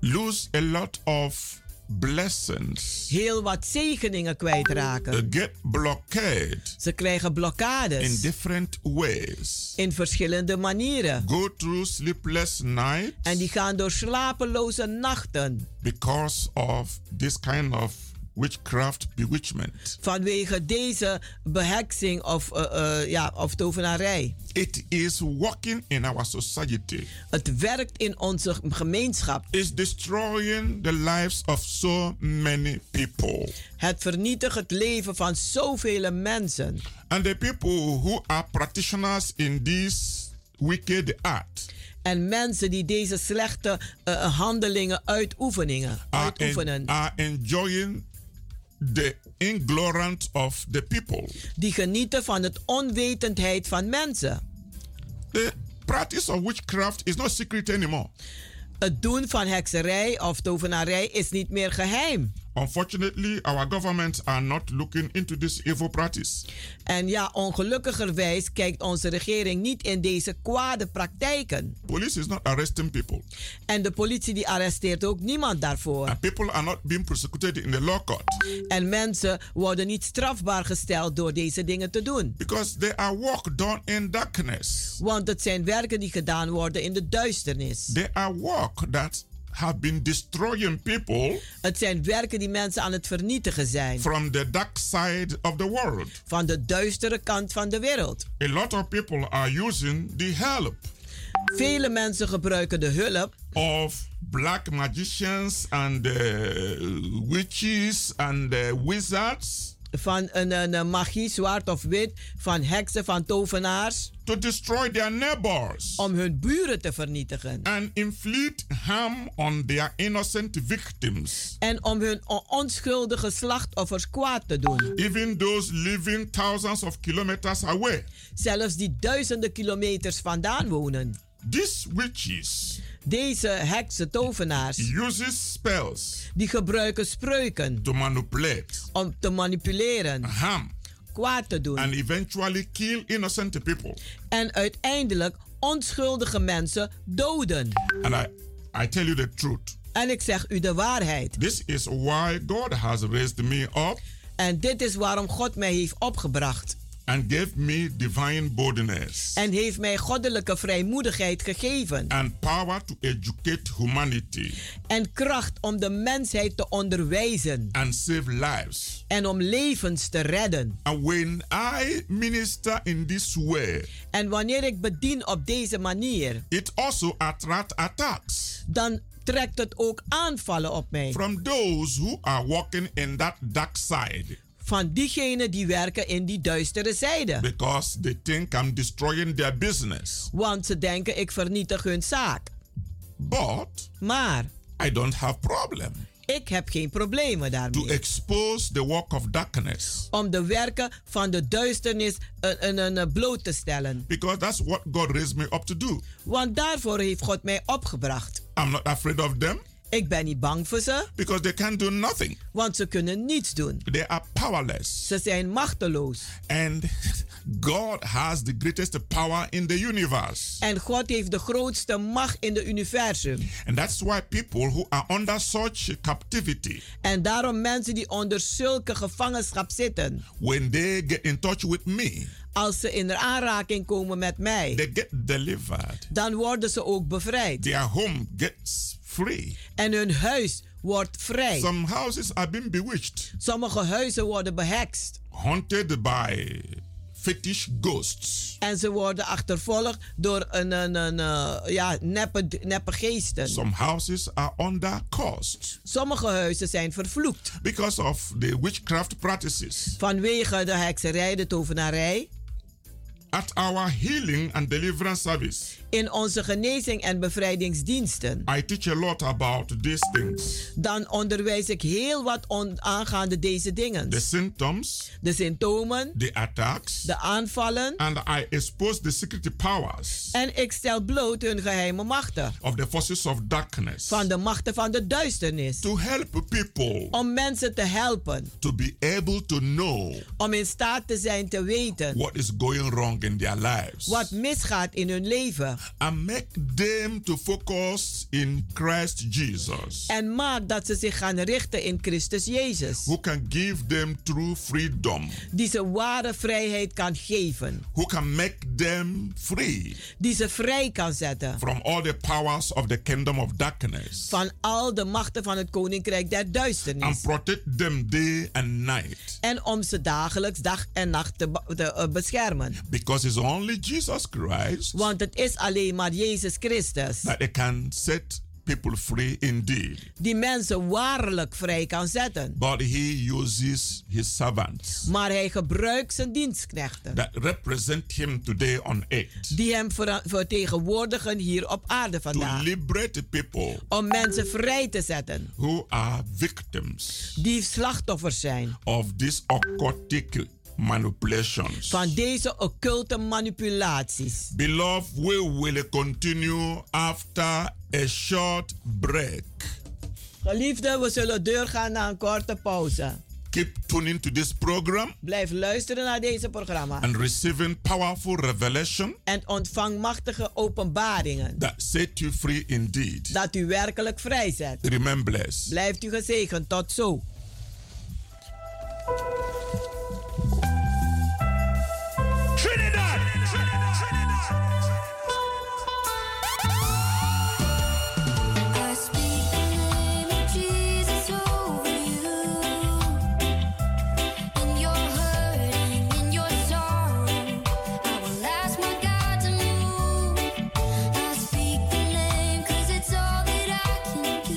[SPEAKER 8] lose a lot of blessings.
[SPEAKER 9] heel wat zegeningen
[SPEAKER 8] They
[SPEAKER 9] kwijtraken.
[SPEAKER 8] get blockaded
[SPEAKER 9] Ze krijgen
[SPEAKER 8] in
[SPEAKER 9] blokkades
[SPEAKER 8] different ways.
[SPEAKER 9] in verschillende manieren.
[SPEAKER 8] Go through sleepless nights.
[SPEAKER 9] En die gaan door slapeloze nachten
[SPEAKER 8] because of this kind of witchcraft bewitchment.
[SPEAKER 9] vanwege deze beheksing of, eh, eh, ja, of tovenarij.
[SPEAKER 8] It is working in our society.
[SPEAKER 9] Het werkt in onze gemeenschap.
[SPEAKER 8] It's destroying the lives of so many people.
[SPEAKER 9] Het vernietigt het leven van zoveel mensen.
[SPEAKER 8] And the people who are practitioners in this wicked art
[SPEAKER 9] En mensen die deze slechte eh, handelingen uitoefeningen,
[SPEAKER 8] are, en-
[SPEAKER 9] uitoefenen.
[SPEAKER 8] are enjoying the ignorance of the people.
[SPEAKER 9] die genieten van het onwetendheid van mensen.
[SPEAKER 8] The practice of witchcraft is not secret anymore.
[SPEAKER 9] Het doen van hekserij of tovenarij is niet meer geheim.
[SPEAKER 8] Unfortunately, our governments are not looking into this evil practice.
[SPEAKER 9] En ja, ongelukkigerwijs kijkt onze regering niet in deze kwade praktijken.
[SPEAKER 8] Police is not arresting people,
[SPEAKER 9] En de politie die arresteert ook niemand daarvoor.
[SPEAKER 8] and people are not being prosecuted in the law court
[SPEAKER 9] En mensen worden niet strafbaar gesteld door deze dingen te doen.
[SPEAKER 8] because they are work done in darkness.
[SPEAKER 9] Want het zijn werken die gedaan worden in de duisternis.
[SPEAKER 8] They are work that have been destroying people
[SPEAKER 9] Het zijn werken die mensen aan het vernietigen zijn.
[SPEAKER 8] from the dark side of the world.
[SPEAKER 9] Van de duistere kant van de wereld.
[SPEAKER 8] A lot of people are using the help
[SPEAKER 9] Vele mensen gebruiken de hulp
[SPEAKER 8] of black magicians and eh, witches and eh, wizards
[SPEAKER 9] van een, een, een magie, zwart of wit, van heksen, van tovenaars,
[SPEAKER 8] to destroy their neighbors
[SPEAKER 9] om hun buren te vernietigen.
[SPEAKER 8] and inflict harm on their innocent victims,
[SPEAKER 9] En om hun on- onschuldige slachtoffers kwaad te doen.
[SPEAKER 8] even those living thousands of kilometers away.
[SPEAKER 9] Zelfs die duizenden kilometers vandaan wonen.
[SPEAKER 8] These witches
[SPEAKER 9] Deze heksen, tovenaars,
[SPEAKER 8] uses spells
[SPEAKER 9] die gebruiken spreuken
[SPEAKER 8] to manipulate,
[SPEAKER 9] om te manipuleren,
[SPEAKER 8] harm,
[SPEAKER 9] kwaad te doen.
[SPEAKER 8] and eventually kill innocent people.
[SPEAKER 9] En uiteindelijk onschuldige mensen doden.
[SPEAKER 8] And I, I tell you the truth.
[SPEAKER 9] En ik zeg u de waarheid.
[SPEAKER 8] This is why God has raised me up
[SPEAKER 9] En dit is waarom God mij heeft opgebracht.
[SPEAKER 8] and gave me divine boldness
[SPEAKER 9] En heeft mij goddelijke vrijmoedigheid gegeven.
[SPEAKER 8] and power to educate humanity
[SPEAKER 9] En kracht om de mensheid te onderwijzen.
[SPEAKER 8] and save lives.
[SPEAKER 9] En om levens te redden.
[SPEAKER 8] And when I minister in this way,
[SPEAKER 9] En wanneer ik bedien op deze manier,
[SPEAKER 8] it also attracts attacks
[SPEAKER 9] dan trekt het ook aanvallen op mij.
[SPEAKER 8] from those who are walking in that dark side
[SPEAKER 9] Van diegenen die werken in die duistere zijde.
[SPEAKER 8] because they think I'm destroying their business.
[SPEAKER 9] Want ze denken ik vernietig hun zaak.
[SPEAKER 8] But
[SPEAKER 9] Maar
[SPEAKER 8] I don't have problem
[SPEAKER 9] ik heb geen problemen
[SPEAKER 8] to
[SPEAKER 9] daarmee.
[SPEAKER 8] expose the work of darkness
[SPEAKER 9] Om de werken van de duisternis eh, eh, eh, bloot te stellen.
[SPEAKER 8] because that's what God raised me up to do.
[SPEAKER 9] Want daarvoor heeft God mij opgebracht.
[SPEAKER 8] I'm not afraid of them
[SPEAKER 9] Ik ben niet bang voor ze,
[SPEAKER 8] because they can do nothing.
[SPEAKER 9] want ze kunnen niets doen.
[SPEAKER 8] They are powerless.
[SPEAKER 9] Ze zijn machteloos.
[SPEAKER 8] And God has the greatest power in the universe.
[SPEAKER 9] En God heeft de grootste macht in het universum.
[SPEAKER 8] And that's why people who are under such captivity,
[SPEAKER 9] En daarom mensen die onder zulke gevangenschap zitten,
[SPEAKER 8] when they get in touch with me,
[SPEAKER 9] als ze in aanraking komen met mij,
[SPEAKER 8] they get delivered.
[SPEAKER 9] dan worden ze ook bevrijd.
[SPEAKER 8] Their home gets free.
[SPEAKER 9] En hun huis wordt vrij.
[SPEAKER 8] Some houses are being bewitched,
[SPEAKER 9] Sommige huizen worden behekst.
[SPEAKER 8] haunted by fetish ghosts.
[SPEAKER 9] En ze worden achtervolgd door een, een, een eh, ja, neppe, neppe geesten.
[SPEAKER 8] Some houses are under cost
[SPEAKER 9] Sommige huizen zijn vervloekt
[SPEAKER 8] because of the witchcraft practices.
[SPEAKER 9] vanwege de hekserij, de tovenarij.
[SPEAKER 8] At our healing and deliverance service,
[SPEAKER 9] in onze genezing en bevrijdingsdiensten.
[SPEAKER 8] I teach a lot about these things
[SPEAKER 9] Dan onderwijs ik heel wat on- aangaande deze dingen.
[SPEAKER 8] the symptoms,
[SPEAKER 9] De symptomen,
[SPEAKER 8] the attacks,
[SPEAKER 9] de aanvallen.
[SPEAKER 8] and I expose the secret powers
[SPEAKER 9] En ik stel bloot hun geheime machten.
[SPEAKER 8] of the forces of darkness
[SPEAKER 9] Van de machten van de duisternis.
[SPEAKER 8] to help people
[SPEAKER 9] Om mensen te helpen.
[SPEAKER 8] to be able to know
[SPEAKER 9] Om in staat te zijn te weten
[SPEAKER 8] what is going wrong in their lives
[SPEAKER 9] wat misgaat in hun leven.
[SPEAKER 8] and make them to focus in Christ Jesus,
[SPEAKER 9] En maak dat ze zich gaan richten in Christus Jezus.
[SPEAKER 8] who can give them true freedom,
[SPEAKER 9] Die ze ware vrijheid kan geven.
[SPEAKER 8] who can make them free
[SPEAKER 9] Die ze vrij kan zetten.
[SPEAKER 8] from all the powers of the kingdom of darkness.
[SPEAKER 9] Van al de machten van het koninkrijk der
[SPEAKER 8] and
[SPEAKER 9] duisternis.
[SPEAKER 8] protect them day and night.
[SPEAKER 9] en om ze dagelijks dag en nacht te, be- te, eh, beschermen.
[SPEAKER 8] Because it's only Jesus Christ
[SPEAKER 9] Want het is alleen maar Jezus Christus
[SPEAKER 8] that they can set people free indeed.
[SPEAKER 9] die mensen waarlijk vrij kan zetten.
[SPEAKER 8] But he uses his servants
[SPEAKER 9] Maar hij gebruikt zijn dienstknechten
[SPEAKER 8] that represent him today on earth
[SPEAKER 9] die hem vera- vertegenwoordigen hier op aarde
[SPEAKER 8] to
[SPEAKER 9] vandaag.
[SPEAKER 8] liberate people
[SPEAKER 9] Om mensen vrij te zetten
[SPEAKER 8] who are victims
[SPEAKER 9] die slachtoffers zijn
[SPEAKER 8] of these occultic manipulations.
[SPEAKER 9] van deze occulte manipulaties.
[SPEAKER 8] Beloved, we will continue after a short break.
[SPEAKER 9] Geliefden, we zullen doorgaan naar een korte pauze.
[SPEAKER 8] Keep tuning to this program
[SPEAKER 9] Blijf luisteren naar deze programma
[SPEAKER 8] and receiving powerful revelation
[SPEAKER 9] en ontvang machtige openbaringen.
[SPEAKER 8] that set you free indeed.
[SPEAKER 9] dat u werkelijk vrij zet.
[SPEAKER 8] Remain blessed.
[SPEAKER 9] Blijft u gezegend tot zo.
[SPEAKER 4] Trinidad!
[SPEAKER 3] I speak the name of Jesus over you, and you're hurting, and you're sorry. I will ask my God to move. I speak the name 'cause it's all that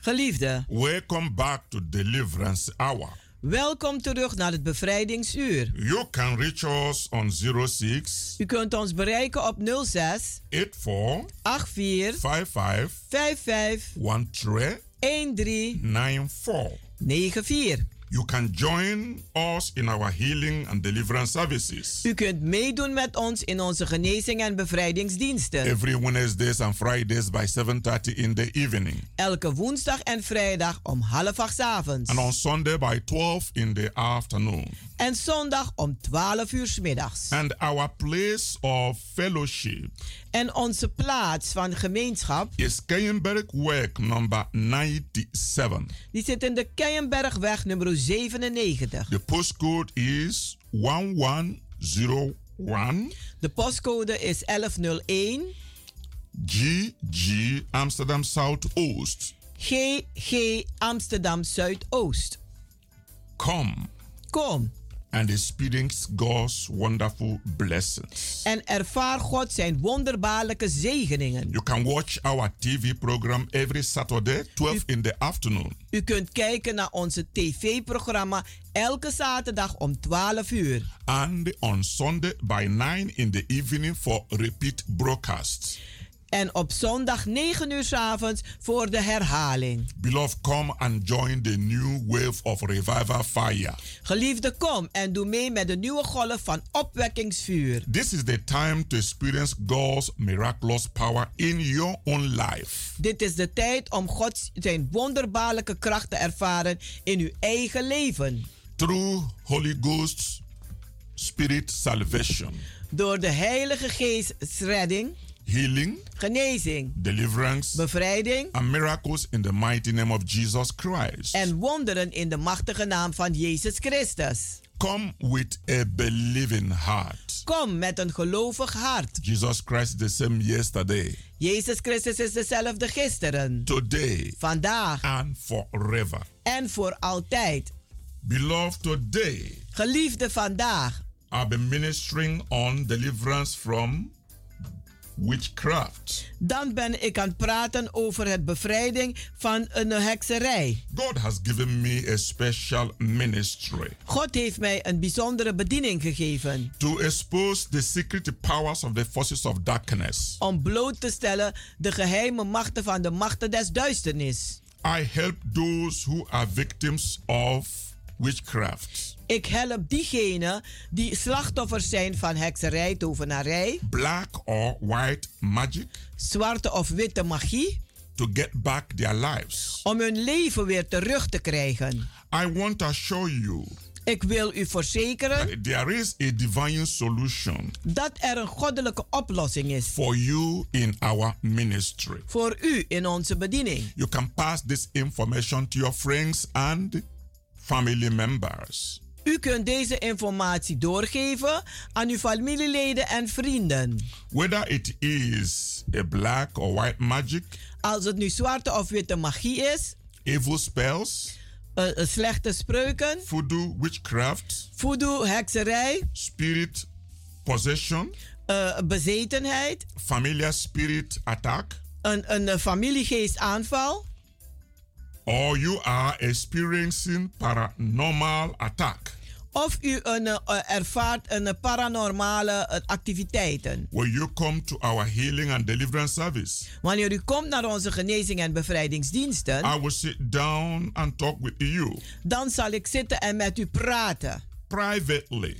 [SPEAKER 9] Geliefde,
[SPEAKER 8] welcome back to Deliverance Hour.
[SPEAKER 9] welkom terug naar het bevrijdingsuur.
[SPEAKER 8] You can reach us on 06
[SPEAKER 9] U kunt ons bereiken op 06
[SPEAKER 8] 84
[SPEAKER 9] 84
[SPEAKER 8] 55
[SPEAKER 9] 55 13
[SPEAKER 8] 94.
[SPEAKER 9] 94.
[SPEAKER 8] You can join us in our healing and deliverance services
[SPEAKER 9] U kunt meedoen met ons in onze genezing en bevrijdingsdiensten.
[SPEAKER 8] every Wednesdays and Fridays by 7:30 in the evening
[SPEAKER 9] Elke woensdag en vrijdag om half acht 's avonds.
[SPEAKER 8] and on Sunday by 12 in the afternoon.
[SPEAKER 9] En zondag om 12 uur 's middags.
[SPEAKER 8] And our place of fellowship
[SPEAKER 9] En onze plaats van gemeenschap
[SPEAKER 8] is Keienberg Work number 97.
[SPEAKER 9] die zit in de Keienbergweg nummer 97.
[SPEAKER 8] The postcode is 1101
[SPEAKER 9] De postcode is 1101
[SPEAKER 8] GG Amsterdam South Oost.
[SPEAKER 9] GG Amsterdam Zuidoost.
[SPEAKER 8] Come
[SPEAKER 9] Kom
[SPEAKER 8] and experience God's wonderful blessings.
[SPEAKER 9] en ervaar God zijn wonderbaarlijke zegeningen.
[SPEAKER 8] You can watch our TV program every Saturday, 12 in the afternoon.
[SPEAKER 9] U kunt kijken naar onze tv-programma elke zaterdag om 12 uur.
[SPEAKER 8] And on Sunday by 9 in the evening for repeat broadcasts.
[SPEAKER 9] En op zondag 9 uur 's avonds voor de herhaling.
[SPEAKER 8] Beloved, come and join the new wave of revival fire.
[SPEAKER 9] Geliefde, kom en doe mee met de nieuwe golf van opwekkingsvuur.
[SPEAKER 8] This is the time to experience God's miraculous power in your own life.
[SPEAKER 9] Dit is de tijd om Gods zijn wonderbaarlijke kracht te ervaren in uw eigen leven.
[SPEAKER 8] through Holy Ghost Spirit salvation,
[SPEAKER 9] Door de Heilige Geest redding,
[SPEAKER 8] healing,
[SPEAKER 9] genezing,
[SPEAKER 8] deliverance,
[SPEAKER 9] bevrijding
[SPEAKER 8] and miracles in the mighty name of Jesus Christ.
[SPEAKER 9] en wonderen in de machtige naam van Jezus Christus.
[SPEAKER 8] Come with a believing heart.
[SPEAKER 9] Kom met een gelovig hart.
[SPEAKER 8] Jesus Christ is the same yesterday,
[SPEAKER 9] Jezus Christus is dezelfde gisteren,
[SPEAKER 8] today,
[SPEAKER 9] vandaag
[SPEAKER 8] and forever.
[SPEAKER 9] en voor altijd.
[SPEAKER 8] Beloved, today
[SPEAKER 9] Geliefde vandaag,
[SPEAKER 8] I've been ministering on deliverance from witchcraft.
[SPEAKER 9] dan ben ik aan het praten over het bevrijding van een hekserij.
[SPEAKER 8] God has given me a special ministry.
[SPEAKER 9] God heeft mij een bijzondere bediening gegeven
[SPEAKER 8] to expose the secret powers of the forces of darkness.
[SPEAKER 9] om bloot te stellen de geheime machten van de machten des duisternis.
[SPEAKER 8] I help those who are victims of witchcraft,
[SPEAKER 9] Ik help diegenen die slachtoffers zijn van hekserij, tovenarij,
[SPEAKER 8] black or white magic,
[SPEAKER 9] zwarte of witte magie,
[SPEAKER 8] to get back their lives.
[SPEAKER 9] om hun leven weer terug te krijgen.
[SPEAKER 8] I want to assure you
[SPEAKER 9] Ik wil u verzekeren
[SPEAKER 8] that there is a divine solution
[SPEAKER 9] dat er een goddelijke oplossing is
[SPEAKER 8] for you in our ministry.
[SPEAKER 9] voor u in onze bediening.
[SPEAKER 8] You can pass this information to your friends and family members.
[SPEAKER 9] U kunt deze informatie doorgeven aan uw familieleden en vrienden.
[SPEAKER 8] Whether it is a black or white magic,
[SPEAKER 9] Als het nu zwarte of witte magie is,
[SPEAKER 8] evil spells,
[SPEAKER 9] eh, eh, slechte spreuken,
[SPEAKER 8] voodoo, witchcraft,
[SPEAKER 9] voodoo, hekserij,
[SPEAKER 8] spirit possession,
[SPEAKER 9] eh, bezetenheid,
[SPEAKER 8] familiar spirit attack,
[SPEAKER 9] een, een eh, familiegeestaanval
[SPEAKER 8] or you are experiencing paranormal attack
[SPEAKER 9] of u een, eh, eh, ervaart een eh, paranormale eh, activiteiten.
[SPEAKER 8] when you come to our healing and deliverance service.
[SPEAKER 9] Wanneer u komt naar onze genezing en bevrijdingsdiensten,
[SPEAKER 8] I will sit down and talk with you
[SPEAKER 9] dan zal ik zitten en met u praten,
[SPEAKER 8] privately,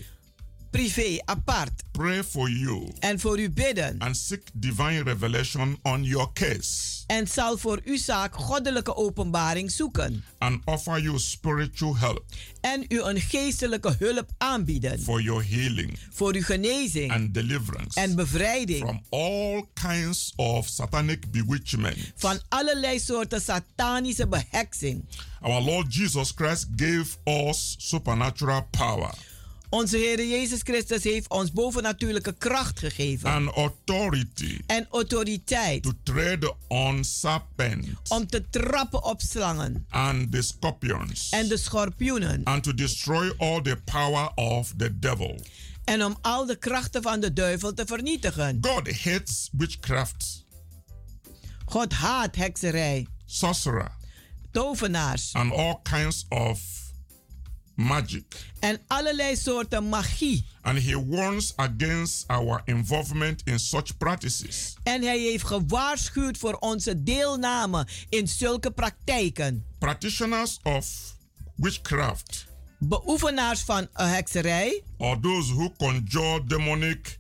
[SPEAKER 9] privé, apart,
[SPEAKER 8] pray for you,
[SPEAKER 9] en voor u bidden.
[SPEAKER 8] and seek divine revelation on your case
[SPEAKER 9] En zal voor uw zaak goddelijke openbaring zoeken
[SPEAKER 8] and offer you spiritual help
[SPEAKER 9] en u een geestelijke hulp aanbieden
[SPEAKER 8] for your healing
[SPEAKER 9] voor uw genezing
[SPEAKER 8] and deliverance
[SPEAKER 9] en bevrijding
[SPEAKER 8] from all kinds of satanic bewitchment.
[SPEAKER 9] van allerlei soorten satanische beheksing.
[SPEAKER 8] Our Lord Jesus Christ gave us supernatural power
[SPEAKER 9] Onze Heer Jezus Christus heeft ons bovennatuurlijke kracht gegeven
[SPEAKER 8] and authority
[SPEAKER 9] en autoriteit
[SPEAKER 8] to tread on serpents
[SPEAKER 9] om te trappen op slangen
[SPEAKER 8] and the scorpions
[SPEAKER 9] en de schorpioenen
[SPEAKER 8] and to destroy all the power of the devil.
[SPEAKER 9] en om al de krachten van de duivel te vernietigen.
[SPEAKER 8] God hates witchcraft,
[SPEAKER 9] God haat hekserij,
[SPEAKER 8] sorcerer,
[SPEAKER 9] tovenaars
[SPEAKER 8] and all kinds of magic.
[SPEAKER 9] en allerlei soorten magie.
[SPEAKER 8] And he warns against our involvement in such practices.
[SPEAKER 9] En hij heeft gewaarschuwd voor onze deelname in zulke praktijken.
[SPEAKER 8] Practitioners of witchcraft
[SPEAKER 9] Beoefenaars van eh, hekserij
[SPEAKER 8] or those who conjure demonic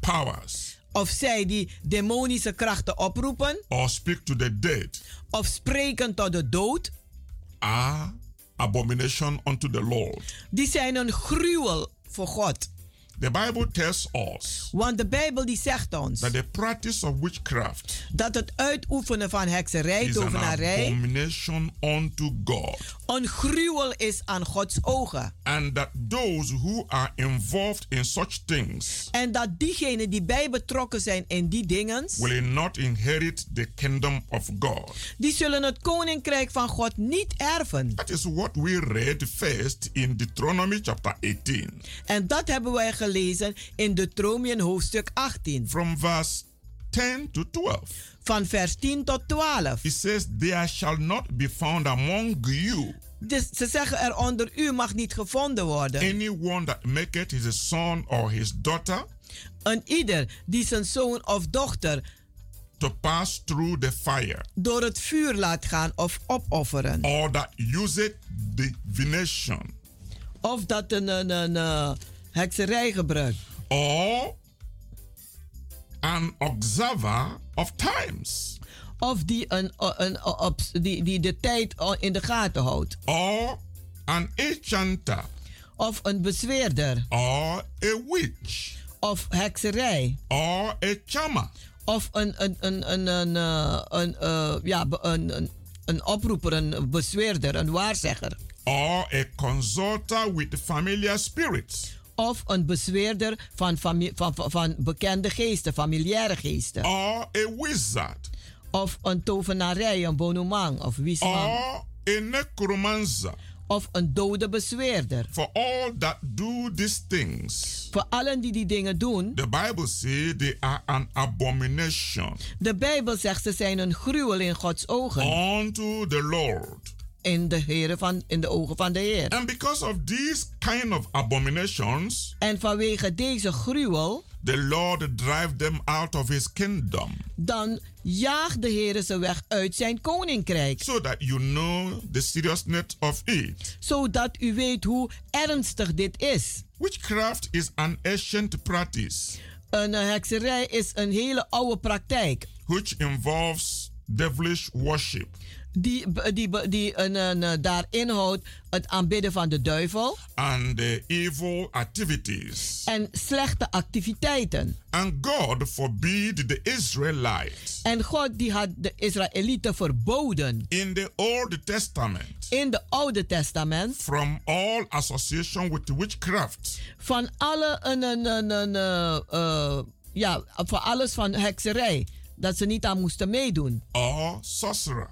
[SPEAKER 8] powers
[SPEAKER 9] of zij die demonische krachten oproepen
[SPEAKER 8] or speak to the dead
[SPEAKER 9] of spreken tot de dood,
[SPEAKER 8] are abomination unto the Lord.
[SPEAKER 9] die zijn een gruwel voor God.
[SPEAKER 8] The Bible tells us
[SPEAKER 9] Want de Bijbel die zegt ons
[SPEAKER 8] that the practice of witchcraft
[SPEAKER 9] dat het uitoefenen van hekserij,
[SPEAKER 8] is an
[SPEAKER 9] tovenarij,
[SPEAKER 8] abomination unto God,
[SPEAKER 9] een gruwel is aan Gods ogen.
[SPEAKER 8] and that those who are involved in such things
[SPEAKER 9] En dat diegenen die bij betrokken zijn in die dingen,
[SPEAKER 8] will not inherit the kingdom of God.
[SPEAKER 9] die zullen het koninkrijk van God niet erven.
[SPEAKER 8] That is what we read first in Deuteronomy chapter 18,
[SPEAKER 9] En dat hebben wij gelezen in Deuteromium hoofdstuk 18,
[SPEAKER 8] from verse 10 to 12.
[SPEAKER 9] van vers 10 tot 12.
[SPEAKER 8] It says, There shall not be found among you
[SPEAKER 9] Dus ze zeggen er onder u mag niet gevonden worden.
[SPEAKER 8] anyone that maketh his son or his daughter
[SPEAKER 9] Een ieder die zijn zoon of dochter
[SPEAKER 8] to pass through the fire,
[SPEAKER 9] door het vuur laat gaan of opofferen.
[SPEAKER 8] or that useth divination,
[SPEAKER 9] Of dat een, een, een eh, hekserij gebruikt.
[SPEAKER 8] or an observer of times,
[SPEAKER 9] Of die, een, eh, een, op, die, die de tijd in de gaten houdt.
[SPEAKER 8] or an enchanter,
[SPEAKER 9] Of een bezweerder.
[SPEAKER 8] or a witch,
[SPEAKER 9] Of hekserij.
[SPEAKER 8] or a charmer.
[SPEAKER 9] Of een, een, een, een, een, eh, een, eh, ja, be- een, een, een oproeper, een bezweerder, een waarzegger.
[SPEAKER 8] or a consulter with familiar spirits,
[SPEAKER 9] Of een bezweerder van, fami- van, van, van bekende geesten, familiaire geesten.
[SPEAKER 8] or a wizard,
[SPEAKER 9] Of een tovenarij, een bonomang of wisman.
[SPEAKER 8] or a necromancer.
[SPEAKER 9] Of een dode bezweerder.
[SPEAKER 8] For all that do these things,
[SPEAKER 9] Voor allen die die dingen doen,
[SPEAKER 8] the Bible says they are an abomination
[SPEAKER 9] de Bijbel zegt ze zijn een gruwel in Gods ogen.
[SPEAKER 8] unto the Lord.
[SPEAKER 9] In de, heren van, in de ogen van de Heer.
[SPEAKER 8] And because of these kind of abominations,
[SPEAKER 9] En vanwege deze gruwel,
[SPEAKER 8] the Lord drive them out of his kingdom,
[SPEAKER 9] dan jaagt de Heer ze weg uit zijn koninkrijk.
[SPEAKER 8] so that you know the seriousness of it.
[SPEAKER 9] zodat u weet hoe ernstig dit is.
[SPEAKER 8] Witchcraft is an ancient practice.
[SPEAKER 9] Een eh, hekserij is een hele oude praktijk.
[SPEAKER 8] which involves devilish worship
[SPEAKER 9] Die, be- die, be- die een, een, eh, daar inhoudt het aanbidden van de duivel
[SPEAKER 8] and uh, evil activities.
[SPEAKER 9] en slechte activiteiten.
[SPEAKER 8] And God forbid the Israelites
[SPEAKER 9] En God die had de Israëlieten verboden
[SPEAKER 8] in the Old Testament
[SPEAKER 9] in de Oude Testament
[SPEAKER 8] from all association with witchcraft.
[SPEAKER 9] van alle een, een, een, een, eh, eh, ja, van alles van hekserij. Dat ze niet aan moesten meedoen.
[SPEAKER 8] Or sorcerer.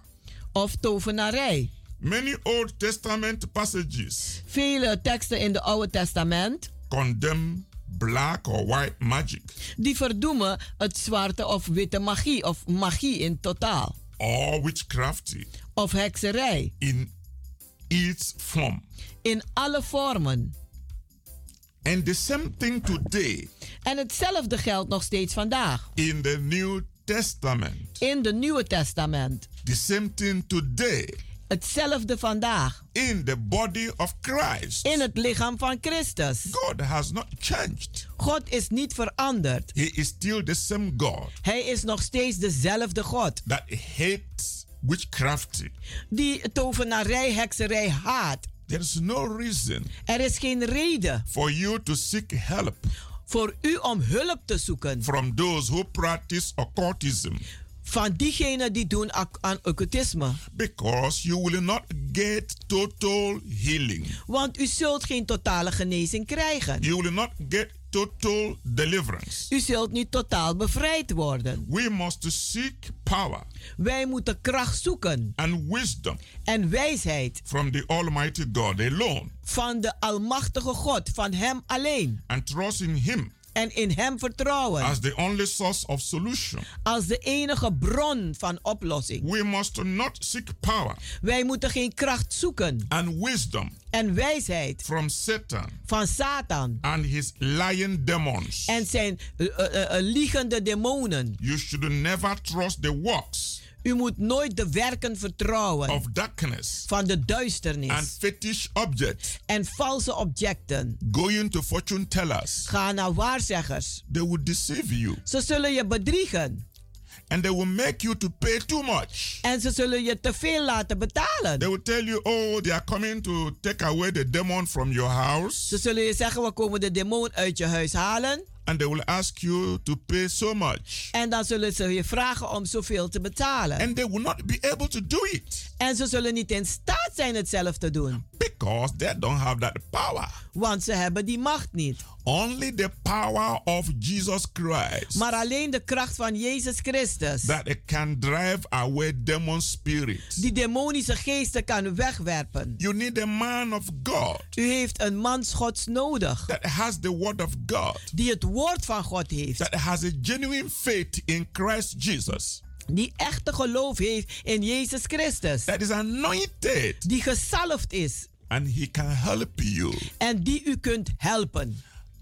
[SPEAKER 9] Of tovenarij.
[SPEAKER 8] Many Old Testament passages
[SPEAKER 9] Vele teksten in de Oude Testament
[SPEAKER 8] condemn black or white magic
[SPEAKER 9] die verdoemen het zwarte of witte magie of magie in totaal
[SPEAKER 8] or witchcraft
[SPEAKER 9] of hekserij
[SPEAKER 8] in its form.
[SPEAKER 9] in alle vormen.
[SPEAKER 8] And the same thing today
[SPEAKER 9] En hetzelfde geldt nog steeds vandaag
[SPEAKER 8] in the New Testament.
[SPEAKER 9] in de Nieuwe Testament.
[SPEAKER 8] The same thing today
[SPEAKER 9] Hetzelfde vandaag
[SPEAKER 8] in the body of Christ.
[SPEAKER 9] in het lichaam van Christus.
[SPEAKER 8] God has not changed.
[SPEAKER 9] God is niet veranderd.
[SPEAKER 8] He is still the same God
[SPEAKER 9] Hij is nog steeds dezelfde God
[SPEAKER 8] that hates witchcraft.
[SPEAKER 9] die tovenarij, hekserij haat.
[SPEAKER 8] There is no reason
[SPEAKER 9] Er is geen reden
[SPEAKER 8] for you to seek help
[SPEAKER 9] voor u om hulp te zoeken
[SPEAKER 8] from those who practice occultism
[SPEAKER 9] van diegenen die doen ac- aan occultisme.
[SPEAKER 8] because you will not get total healing.
[SPEAKER 9] Want u zult geen totale genezing krijgen.
[SPEAKER 8] You will not get total deliverance.
[SPEAKER 9] U zult niet totaal bevrijd worden.
[SPEAKER 8] We must seek power
[SPEAKER 9] Wij moeten kracht zoeken
[SPEAKER 8] and wisdom
[SPEAKER 9] en wijsheid
[SPEAKER 8] from the Almighty God alone
[SPEAKER 9] van de Almachtige God, van Hem alleen.
[SPEAKER 8] and trust in Him
[SPEAKER 9] en in hem vertrouwen.
[SPEAKER 8] as the only source of solution.
[SPEAKER 9] als de enige bron van oplossing.
[SPEAKER 8] We must not seek power
[SPEAKER 9] Wij moeten geen kracht zoeken
[SPEAKER 8] and wisdom
[SPEAKER 9] en wijsheid
[SPEAKER 8] from Satan
[SPEAKER 9] van Satan
[SPEAKER 8] and his lying demons.
[SPEAKER 9] en zijn eh, eh, eh, liegende demonen.
[SPEAKER 8] you should never trust the works
[SPEAKER 9] U moet nooit de werken vertrouwen
[SPEAKER 8] of darkness
[SPEAKER 9] van de
[SPEAKER 8] and
[SPEAKER 9] duisternis
[SPEAKER 8] fetish objects
[SPEAKER 9] en valse objecten.
[SPEAKER 8] going to fortune tellers.
[SPEAKER 9] Ga naar waarzeggers.
[SPEAKER 8] They will deceive you
[SPEAKER 9] Ze zullen je bedriegen
[SPEAKER 8] and they will make you to pay too much.
[SPEAKER 9] en ze zullen je te veel laten
[SPEAKER 8] They
[SPEAKER 9] betalen.
[SPEAKER 8] will tell you, oh, they are coming to take away the demon from your house.
[SPEAKER 9] Ze zullen je zeggen, we komen de demon uit je huis halen.
[SPEAKER 8] And they will ask you to pay so much.
[SPEAKER 9] En dan zullen ze je vragen om zoveel te betalen.
[SPEAKER 8] And they will not be able to do it
[SPEAKER 9] En ze zullen niet in staat zijn het zelf te doen.
[SPEAKER 8] because they don't have that power.
[SPEAKER 9] Want ze hebben die macht niet.
[SPEAKER 8] Only the power of Jesus Christ
[SPEAKER 9] Maar alleen de kracht van Jezus Christus.
[SPEAKER 8] that it can drive away demon spirits.
[SPEAKER 9] Die demonische geesten kan wegwerpen.
[SPEAKER 8] You need a man of God
[SPEAKER 9] U heeft een mans gods nodig.
[SPEAKER 8] that has the word of God,
[SPEAKER 9] Die het woord van God heeft.
[SPEAKER 8] that has a genuine faith in Christ Jesus,
[SPEAKER 9] Die echte geloof heeft in Jezus Christus.
[SPEAKER 8] that is anointed,
[SPEAKER 9] Die gezalfd is.
[SPEAKER 8] and he can help you
[SPEAKER 9] En die u kunt helpen.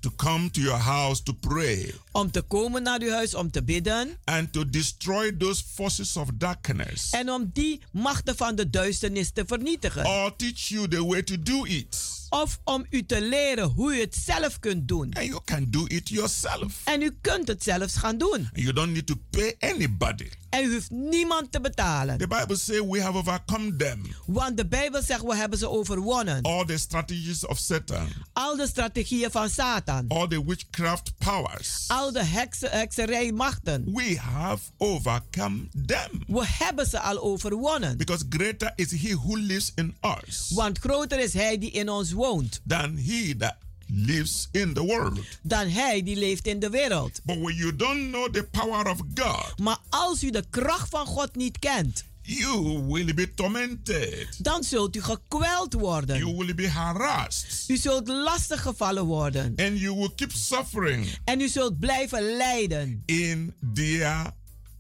[SPEAKER 8] to come to your house to pray
[SPEAKER 9] Om te komen naar uw huis om te bidden.
[SPEAKER 8] and to destroy those forces of darkness
[SPEAKER 9] En om die machten van de duisternis te vernietigen.
[SPEAKER 8] or teach you the way to do it.
[SPEAKER 9] Of om u te leren hoe u het zelf kunt doen.
[SPEAKER 8] And you can do it yourself.
[SPEAKER 9] En u kunt het zelfs gaan doen.
[SPEAKER 8] You don't need to pay anybody.
[SPEAKER 9] En u hoeft niemand te betalen.
[SPEAKER 8] The Bible says we have overcome them,
[SPEAKER 9] Want de Bijbel zegt, we hebben ze overwonnen.
[SPEAKER 8] all the strategies of Satan,
[SPEAKER 9] Al de strategieën van Satan.
[SPEAKER 8] all the witchcraft powers.
[SPEAKER 9] Al de heksen, hekserijmachten.
[SPEAKER 8] We have overcome them.
[SPEAKER 9] We hebben ze al overwonnen.
[SPEAKER 8] Because greater is he who lives in us
[SPEAKER 9] Want groter is hij die in ons woont
[SPEAKER 8] than he that lives in the world.
[SPEAKER 9] dan hij die leeft in de wereld.
[SPEAKER 8] But when you don't know the power of God,
[SPEAKER 9] Maar als u de kracht van God niet kent,
[SPEAKER 8] you will be tormented.
[SPEAKER 9] dan zult u gekweld
[SPEAKER 8] You
[SPEAKER 9] worden.
[SPEAKER 8] will be harassed.
[SPEAKER 9] U zult lastiggevallen worden.
[SPEAKER 8] And you will keep suffering
[SPEAKER 9] En u zult blijven lijden
[SPEAKER 8] in their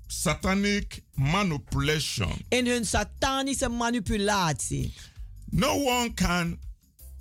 [SPEAKER 8] satanic manipulation.
[SPEAKER 9] in hun satanische manipulatie.
[SPEAKER 8] No one can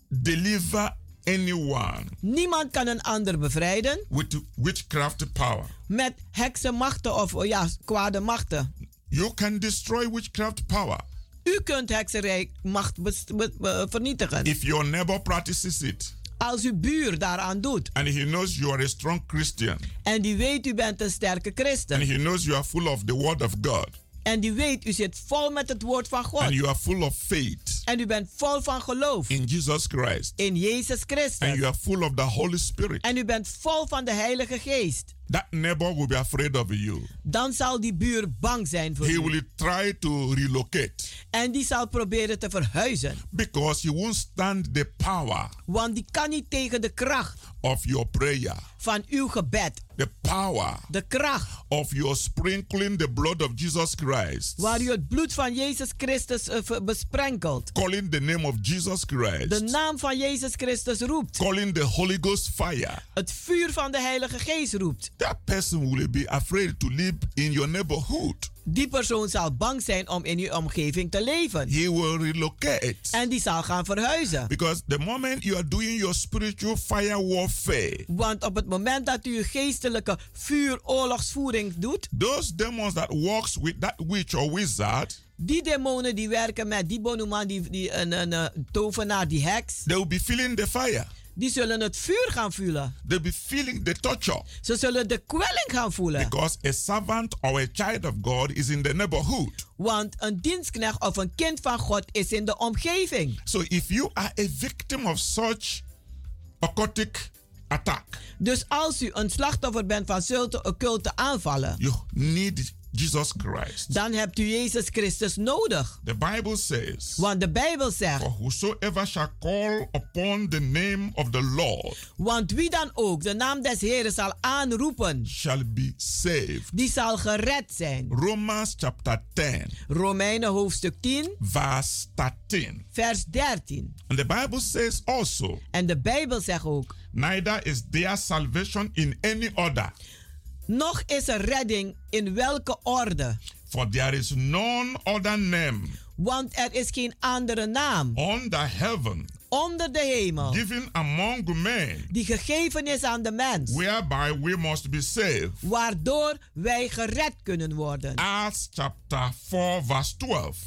[SPEAKER 8] deliver anyone
[SPEAKER 9] Niemand kan een ander bevrijden
[SPEAKER 8] with witchcraft power.
[SPEAKER 9] met heksenmachten of oh ja, kwade machten.
[SPEAKER 8] You can destroy witchcraft power
[SPEAKER 9] U kunt hekserijmacht bes- be- be- vernietigen.
[SPEAKER 8] if your neighbor practices it
[SPEAKER 9] Als uw buur daaraan doet
[SPEAKER 8] and he knows you are a strong Christian
[SPEAKER 9] en die weet u bent een sterke
[SPEAKER 8] and
[SPEAKER 9] christen
[SPEAKER 8] he knows you are full of the word of God
[SPEAKER 9] en die weet u zit vol met het woord van God
[SPEAKER 8] and you are full of faith
[SPEAKER 9] en u bent vol van geloof
[SPEAKER 8] in Jesus Christ
[SPEAKER 9] in Jezus
[SPEAKER 8] and you
[SPEAKER 9] Christus
[SPEAKER 8] are full of the Holy Spirit,
[SPEAKER 9] en u bent vol van de Heilige Geest,
[SPEAKER 8] that neighbor will be afraid of you.
[SPEAKER 9] dan zal die buur bang zijn voor
[SPEAKER 8] He
[SPEAKER 9] u
[SPEAKER 8] will try to relocate
[SPEAKER 9] en die zal proberen te verhuizen,
[SPEAKER 8] because he won't stand the power
[SPEAKER 9] want die kan niet tegen de kracht
[SPEAKER 8] of your prayer,
[SPEAKER 9] van uw gebed,
[SPEAKER 8] the power
[SPEAKER 9] de kracht
[SPEAKER 8] of your sprinkling the blood of Jesus Christ,
[SPEAKER 9] waar u het bloed van Jezus Christus eh, ver- besprenkelt,
[SPEAKER 8] calling the name of Jesus Christ,
[SPEAKER 9] de naam van Jezus Christus roept,
[SPEAKER 8] calling the Holy Ghost fire.
[SPEAKER 9] het vuur van de Heilige Geest roept.
[SPEAKER 8] That person will be afraid to live in your neighborhood.
[SPEAKER 9] Die persoon zal bang zijn om in uw omgeving te leven.
[SPEAKER 8] He will relocate.
[SPEAKER 9] En die zal gaan verhuizen.
[SPEAKER 8] because the moment you are doing your spiritual fire warfare,
[SPEAKER 9] Want op het moment dat u uw geestelijke vuuroorlogsvoering doet,
[SPEAKER 8] those demons that walks with that witch or wizard,
[SPEAKER 9] die demonen die werken met die bonoeman, die, die een, een, een tovenaar, die heks,
[SPEAKER 8] they will be feeling the fire.
[SPEAKER 9] die zullen het vuur gaan voelen.
[SPEAKER 8] They'll be feeling the torture.
[SPEAKER 9] Ze zullen de kwelling gaan voelen.
[SPEAKER 8] Because a servant or a child of God is in the neighborhood.
[SPEAKER 9] Want een dienstknecht of een kind van God is in de omgeving.
[SPEAKER 8] So if you are a victim of such occultic attack,
[SPEAKER 9] Dus als u een slachtoffer bent van zulke occulte aanvallen,
[SPEAKER 8] you need Jesus Christ.
[SPEAKER 9] dan hebt u Jezus Christus nodig.
[SPEAKER 8] The Bible says,
[SPEAKER 9] Want de Bijbel zegt,
[SPEAKER 8] For whosoever shall call upon the name of the Lord
[SPEAKER 9] want wie dan ook de naam des Heren zal aanroepen,
[SPEAKER 8] shall be saved.
[SPEAKER 9] die zal gered zijn.
[SPEAKER 8] Romans chapter 10,
[SPEAKER 9] Romeinen hoofdstuk 10,
[SPEAKER 8] verse 13.
[SPEAKER 9] vers 13.
[SPEAKER 8] And the Bible says also,
[SPEAKER 9] En de Bijbel zegt ook,
[SPEAKER 8] Neither is there salvation in any other,
[SPEAKER 9] nog is er redding in welke orde,
[SPEAKER 8] for there is none other name
[SPEAKER 9] want er is geen andere naam
[SPEAKER 8] under heaven
[SPEAKER 9] onder de hemel
[SPEAKER 8] given among men
[SPEAKER 9] die gegeven is aan de mens,
[SPEAKER 8] whereby we must be saved.
[SPEAKER 9] waardoor wij gered kunnen worden.
[SPEAKER 8] Acts chapter 4, verse 12.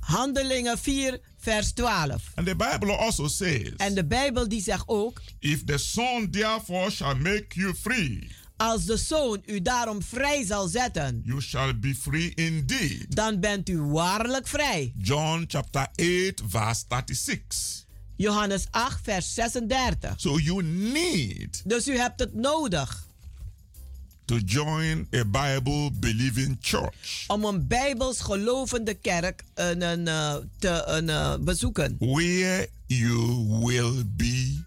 [SPEAKER 9] Handelingen 4, vers 12.
[SPEAKER 8] And the Bible also says,
[SPEAKER 9] En de Bijbel die zegt ook,
[SPEAKER 8] If the Son therefore shall make you free,
[SPEAKER 9] als de zoon u daarom vrij zal zetten,
[SPEAKER 8] you shall be free indeed.
[SPEAKER 9] dan bent u waarlijk vrij.
[SPEAKER 8] John chapter 8, verse 36.
[SPEAKER 9] Johannes 8, vers 36.
[SPEAKER 8] So you need
[SPEAKER 9] Dus u hebt het nodig
[SPEAKER 8] to join a Bible believing church.
[SPEAKER 9] om een bijbels gelovende kerk een, een, eh, te een, eh, bezoeken.
[SPEAKER 8] where you will be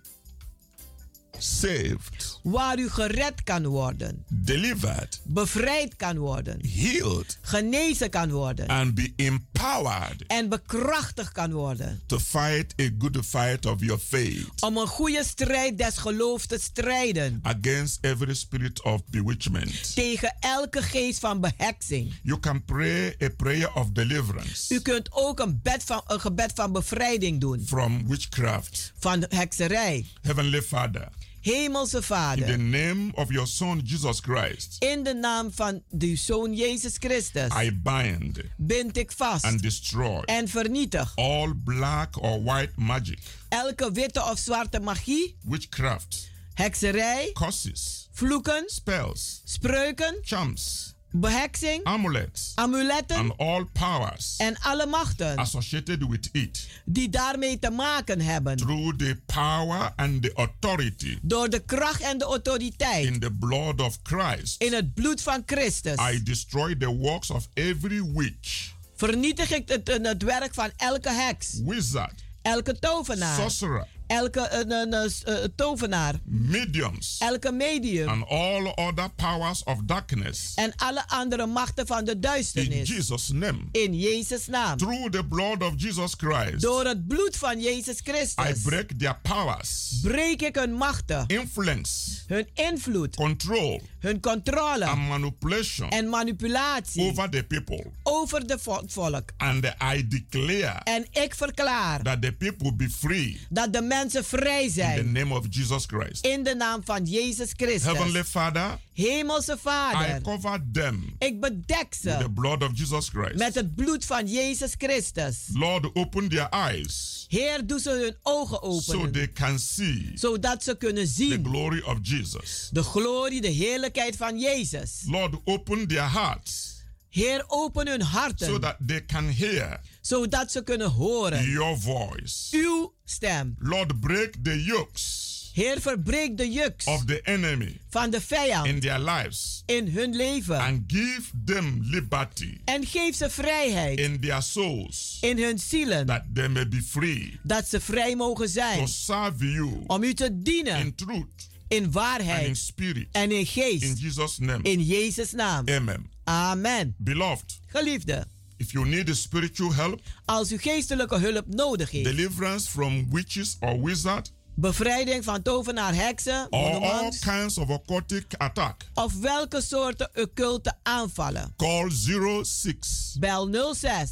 [SPEAKER 8] saved,
[SPEAKER 9] Waar u gered kan worden,
[SPEAKER 8] delivered,
[SPEAKER 9] bevrijd kan worden,
[SPEAKER 8] healed,
[SPEAKER 9] genezen kan worden
[SPEAKER 8] and be empowered
[SPEAKER 9] en bekrachtigd kan worden.
[SPEAKER 8] to fight a good fight of your faith
[SPEAKER 9] Om een goede strijd des geloofs te strijden
[SPEAKER 8] against every spirit of bewitchment.
[SPEAKER 9] tegen elke geest van beheksing.
[SPEAKER 8] You can pray a prayer of deliverance
[SPEAKER 9] U kunt ook een, bed van, een gebed van bevrijding doen.
[SPEAKER 8] from witchcraft.
[SPEAKER 9] Van hekserij.
[SPEAKER 8] Heavenly Father,
[SPEAKER 9] Hemelse
[SPEAKER 8] in the
[SPEAKER 9] Vader.
[SPEAKER 8] name of your Son Jesus Christ,
[SPEAKER 9] In de naam van uw Zoon Jezus Christus.
[SPEAKER 8] I bind
[SPEAKER 9] Bind ik vast.
[SPEAKER 8] and destroy
[SPEAKER 9] En vernietig.
[SPEAKER 8] all black or white magic,
[SPEAKER 9] Elke witte of zwarte magie.
[SPEAKER 8] witchcraft,
[SPEAKER 9] Hekserij.
[SPEAKER 8] curses,
[SPEAKER 9] Vloeken.
[SPEAKER 8] spells,
[SPEAKER 9] Spreuken.
[SPEAKER 8] charms,
[SPEAKER 9] Beheksing.
[SPEAKER 8] amulets, and
[SPEAKER 9] Amuletten.
[SPEAKER 8] all powers
[SPEAKER 9] En alle machten
[SPEAKER 8] associated with it
[SPEAKER 9] die daarmee te maken hebben.
[SPEAKER 8] through the power and the authority
[SPEAKER 9] Door de kracht en de autoriteit.
[SPEAKER 8] in the blood of Christ.
[SPEAKER 9] In het bloed van
[SPEAKER 8] I
[SPEAKER 9] Christus.
[SPEAKER 8] destroy the works of every witch,
[SPEAKER 9] Vernietig ik het, het werk van elke heks.
[SPEAKER 8] wizard,
[SPEAKER 9] Elke tovenaar.
[SPEAKER 8] sorcerer,
[SPEAKER 9] elke eh, eh, eh, s- eh, tovenaar,
[SPEAKER 8] mediums,
[SPEAKER 9] elke medium
[SPEAKER 8] and all other powers of darkness
[SPEAKER 9] en alle andere machten van de
[SPEAKER 8] in
[SPEAKER 9] duisternis.
[SPEAKER 8] Jesus' name.
[SPEAKER 9] In Jezus' naam.
[SPEAKER 8] Through the blood of Jesus Christ,
[SPEAKER 9] Door het bloed van Jezus
[SPEAKER 8] I
[SPEAKER 9] Christus
[SPEAKER 8] break their powers,
[SPEAKER 9] breek ik hun machten,
[SPEAKER 8] influence,
[SPEAKER 9] hun invloed,
[SPEAKER 8] control,
[SPEAKER 9] hun controle
[SPEAKER 8] and manipulation
[SPEAKER 9] en manipulatie
[SPEAKER 8] over the people.
[SPEAKER 9] over de vo- het volk.
[SPEAKER 8] And I declare
[SPEAKER 9] En ik verklaar
[SPEAKER 8] that the people be free
[SPEAKER 9] dat de mensen vrij
[SPEAKER 8] in the
[SPEAKER 9] zijn
[SPEAKER 8] name of Jesus Christ.
[SPEAKER 9] in de naam van Jezus
[SPEAKER 8] Heavenly
[SPEAKER 9] Christus.
[SPEAKER 8] Father,
[SPEAKER 9] Hemelse
[SPEAKER 8] I
[SPEAKER 9] Vader,
[SPEAKER 8] cover them
[SPEAKER 9] ik bedek
[SPEAKER 8] with the
[SPEAKER 9] ze
[SPEAKER 8] blood of Jesus
[SPEAKER 9] met
[SPEAKER 8] Christ.
[SPEAKER 9] het bloed van Jezus Christus.
[SPEAKER 8] Lord, open their eyes
[SPEAKER 9] Heer, doe ze hun ogen
[SPEAKER 8] so
[SPEAKER 9] openen.
[SPEAKER 8] they can see
[SPEAKER 9] zodat ze kunnen
[SPEAKER 8] the
[SPEAKER 9] zien
[SPEAKER 8] glory of Jesus.
[SPEAKER 9] de glorie, de heerlijkheid van Jezus.
[SPEAKER 8] Lord, open their hearts
[SPEAKER 9] Heer, open hun
[SPEAKER 8] so
[SPEAKER 9] harten,
[SPEAKER 8] that they can hear
[SPEAKER 9] zodat ze kunnen horen
[SPEAKER 8] your voice.
[SPEAKER 9] uw stem.
[SPEAKER 8] Lord, break the yokes
[SPEAKER 9] Heer, verbreek de juk
[SPEAKER 8] of the enemy
[SPEAKER 9] van de
[SPEAKER 8] in
[SPEAKER 9] vijand
[SPEAKER 8] their lives
[SPEAKER 9] in hun leven
[SPEAKER 8] and give them liberty
[SPEAKER 9] en geef ze vrijheid
[SPEAKER 8] in their souls
[SPEAKER 9] in hun zielen,
[SPEAKER 8] that they may be free
[SPEAKER 9] dat ze vrij mogen
[SPEAKER 8] to
[SPEAKER 9] zijn
[SPEAKER 8] serve you
[SPEAKER 9] om u te
[SPEAKER 8] in
[SPEAKER 9] dienen
[SPEAKER 8] truth
[SPEAKER 9] in
[SPEAKER 8] and in
[SPEAKER 9] waarheid
[SPEAKER 8] spirit.
[SPEAKER 9] en in
[SPEAKER 8] In
[SPEAKER 9] geest.
[SPEAKER 8] Jesus' name.
[SPEAKER 9] In Jezus' naam.
[SPEAKER 8] Amen.
[SPEAKER 9] Amen.
[SPEAKER 8] Beloved,
[SPEAKER 9] Geliefde,
[SPEAKER 8] if you need spiritual help,
[SPEAKER 9] als u geestelijke hulp nodig heeft,
[SPEAKER 8] deliverance from witches or wizard,
[SPEAKER 9] bevrijding van tovenaar, heksen,
[SPEAKER 8] or all
[SPEAKER 9] bonnemans,
[SPEAKER 8] kinds of occultic attack,
[SPEAKER 9] of welke soorten occulte aanvallen.
[SPEAKER 8] call 06
[SPEAKER 9] Bel 06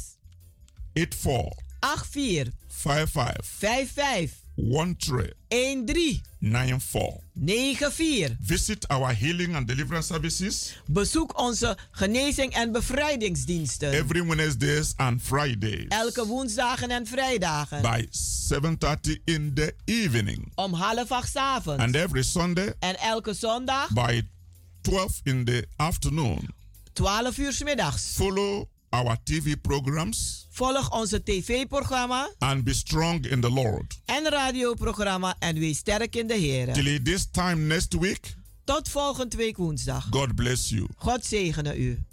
[SPEAKER 8] 84
[SPEAKER 9] 84
[SPEAKER 8] 55
[SPEAKER 9] 55 13
[SPEAKER 8] 94.
[SPEAKER 9] 94.
[SPEAKER 8] Visit our healing and deliverance services
[SPEAKER 9] Bezoek onze genezing- en bevrijdingsdiensten.
[SPEAKER 8] every Wednesdays and Fridays
[SPEAKER 9] Elke woensdagen en vrijdagen.
[SPEAKER 8] by 7:30 in the evening
[SPEAKER 9] Om half acht avonds.
[SPEAKER 8] and every Sunday
[SPEAKER 9] En elke zondag
[SPEAKER 8] by 12 in the afternoon.
[SPEAKER 9] 12 uur 's middags.
[SPEAKER 8] Follow our TV programs
[SPEAKER 9] Volg onze tv-programma
[SPEAKER 8] and be strong in the Lord.
[SPEAKER 9] en radioprogramma en wees sterk in de Heer.
[SPEAKER 8] Till this time next week,
[SPEAKER 9] Tot volgende week woensdag.
[SPEAKER 8] God bless you.
[SPEAKER 9] God zegene u.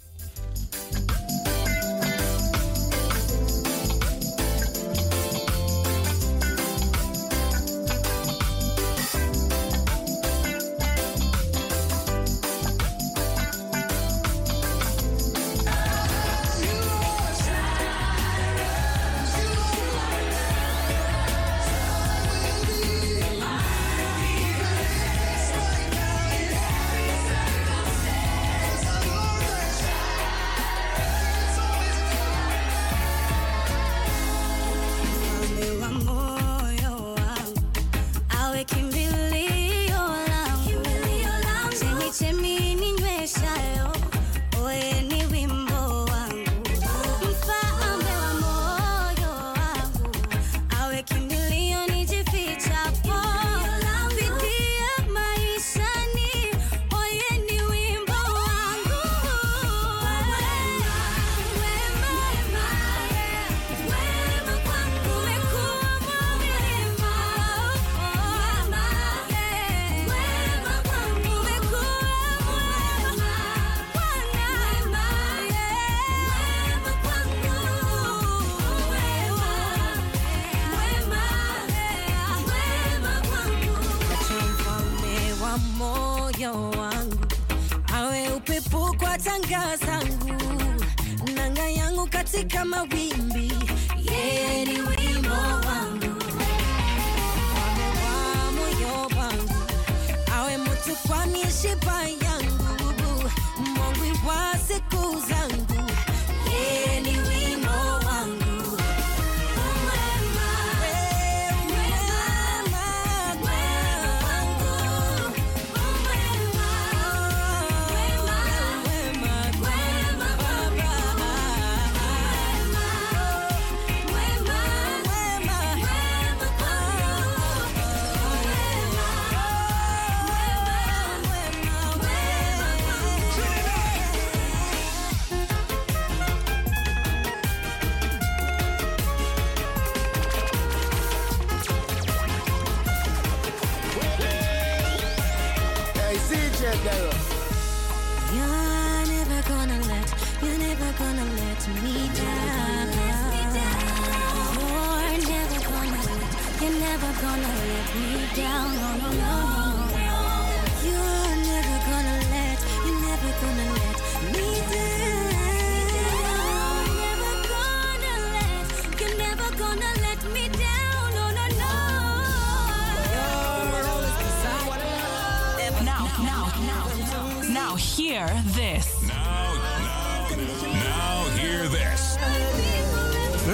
[SPEAKER 10] moyo wangu awe upepo kwa tanga zangu nanga yangu katika mawimbi yeye ni wimo wangu Mwamba wa moyo wangu awe moto kwa mishipa yangu mongwi wa siku zangu yeye ni wimo wangu Mwema, mwema, mwema wangu. Mwema, mwema, mwema, mwema baba. Mwema, mwema, mwema kwangu. Mwema, mwema, mwema kwangu.
[SPEAKER 11] Hey, CJ Bella.
[SPEAKER 10] You're never gonna let, you're never gonna let me down. You're never gonna let, you're never gonna let me down. No, no, no. You're never gonna let, you're never gonna let me down. You're never gonna let, you're never gonna let me down. No, no, no. You're always beside me.
[SPEAKER 12] Now, now, now, now hear this.
[SPEAKER 4] Now, now hear this.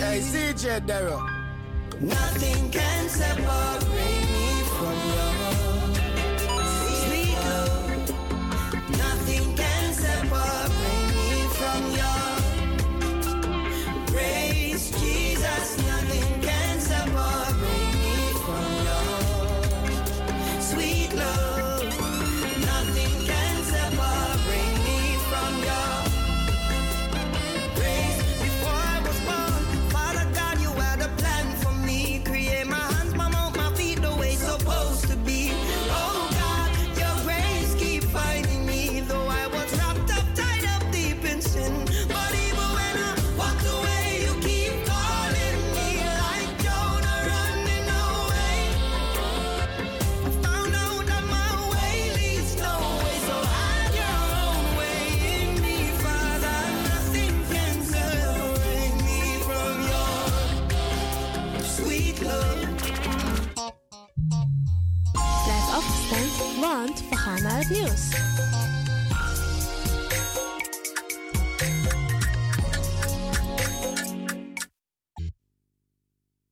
[SPEAKER 11] Hey, CJ Darrow. Nothing can separate me from your love. Sweet love. Nothing can separate me from your grace, Jesus. Nothing can separate me from your sweet love. Nothing can separate me from your grace. Before I was born, Father God, you had a plan for me. Create my hands, my mouth, my feet the way it's supposed to be. Oh God, your grace keep finding me. Though I was wrapped up, tied up deep in sin. But even when I walked away, you keep calling me like Jonah running away. I found out that my way leads nowhere, so hide your own way in me, Father. Nothing can separate me from your sweet love.
[SPEAKER 13] Blijf afgestemd, want we gaan naar het nieuws.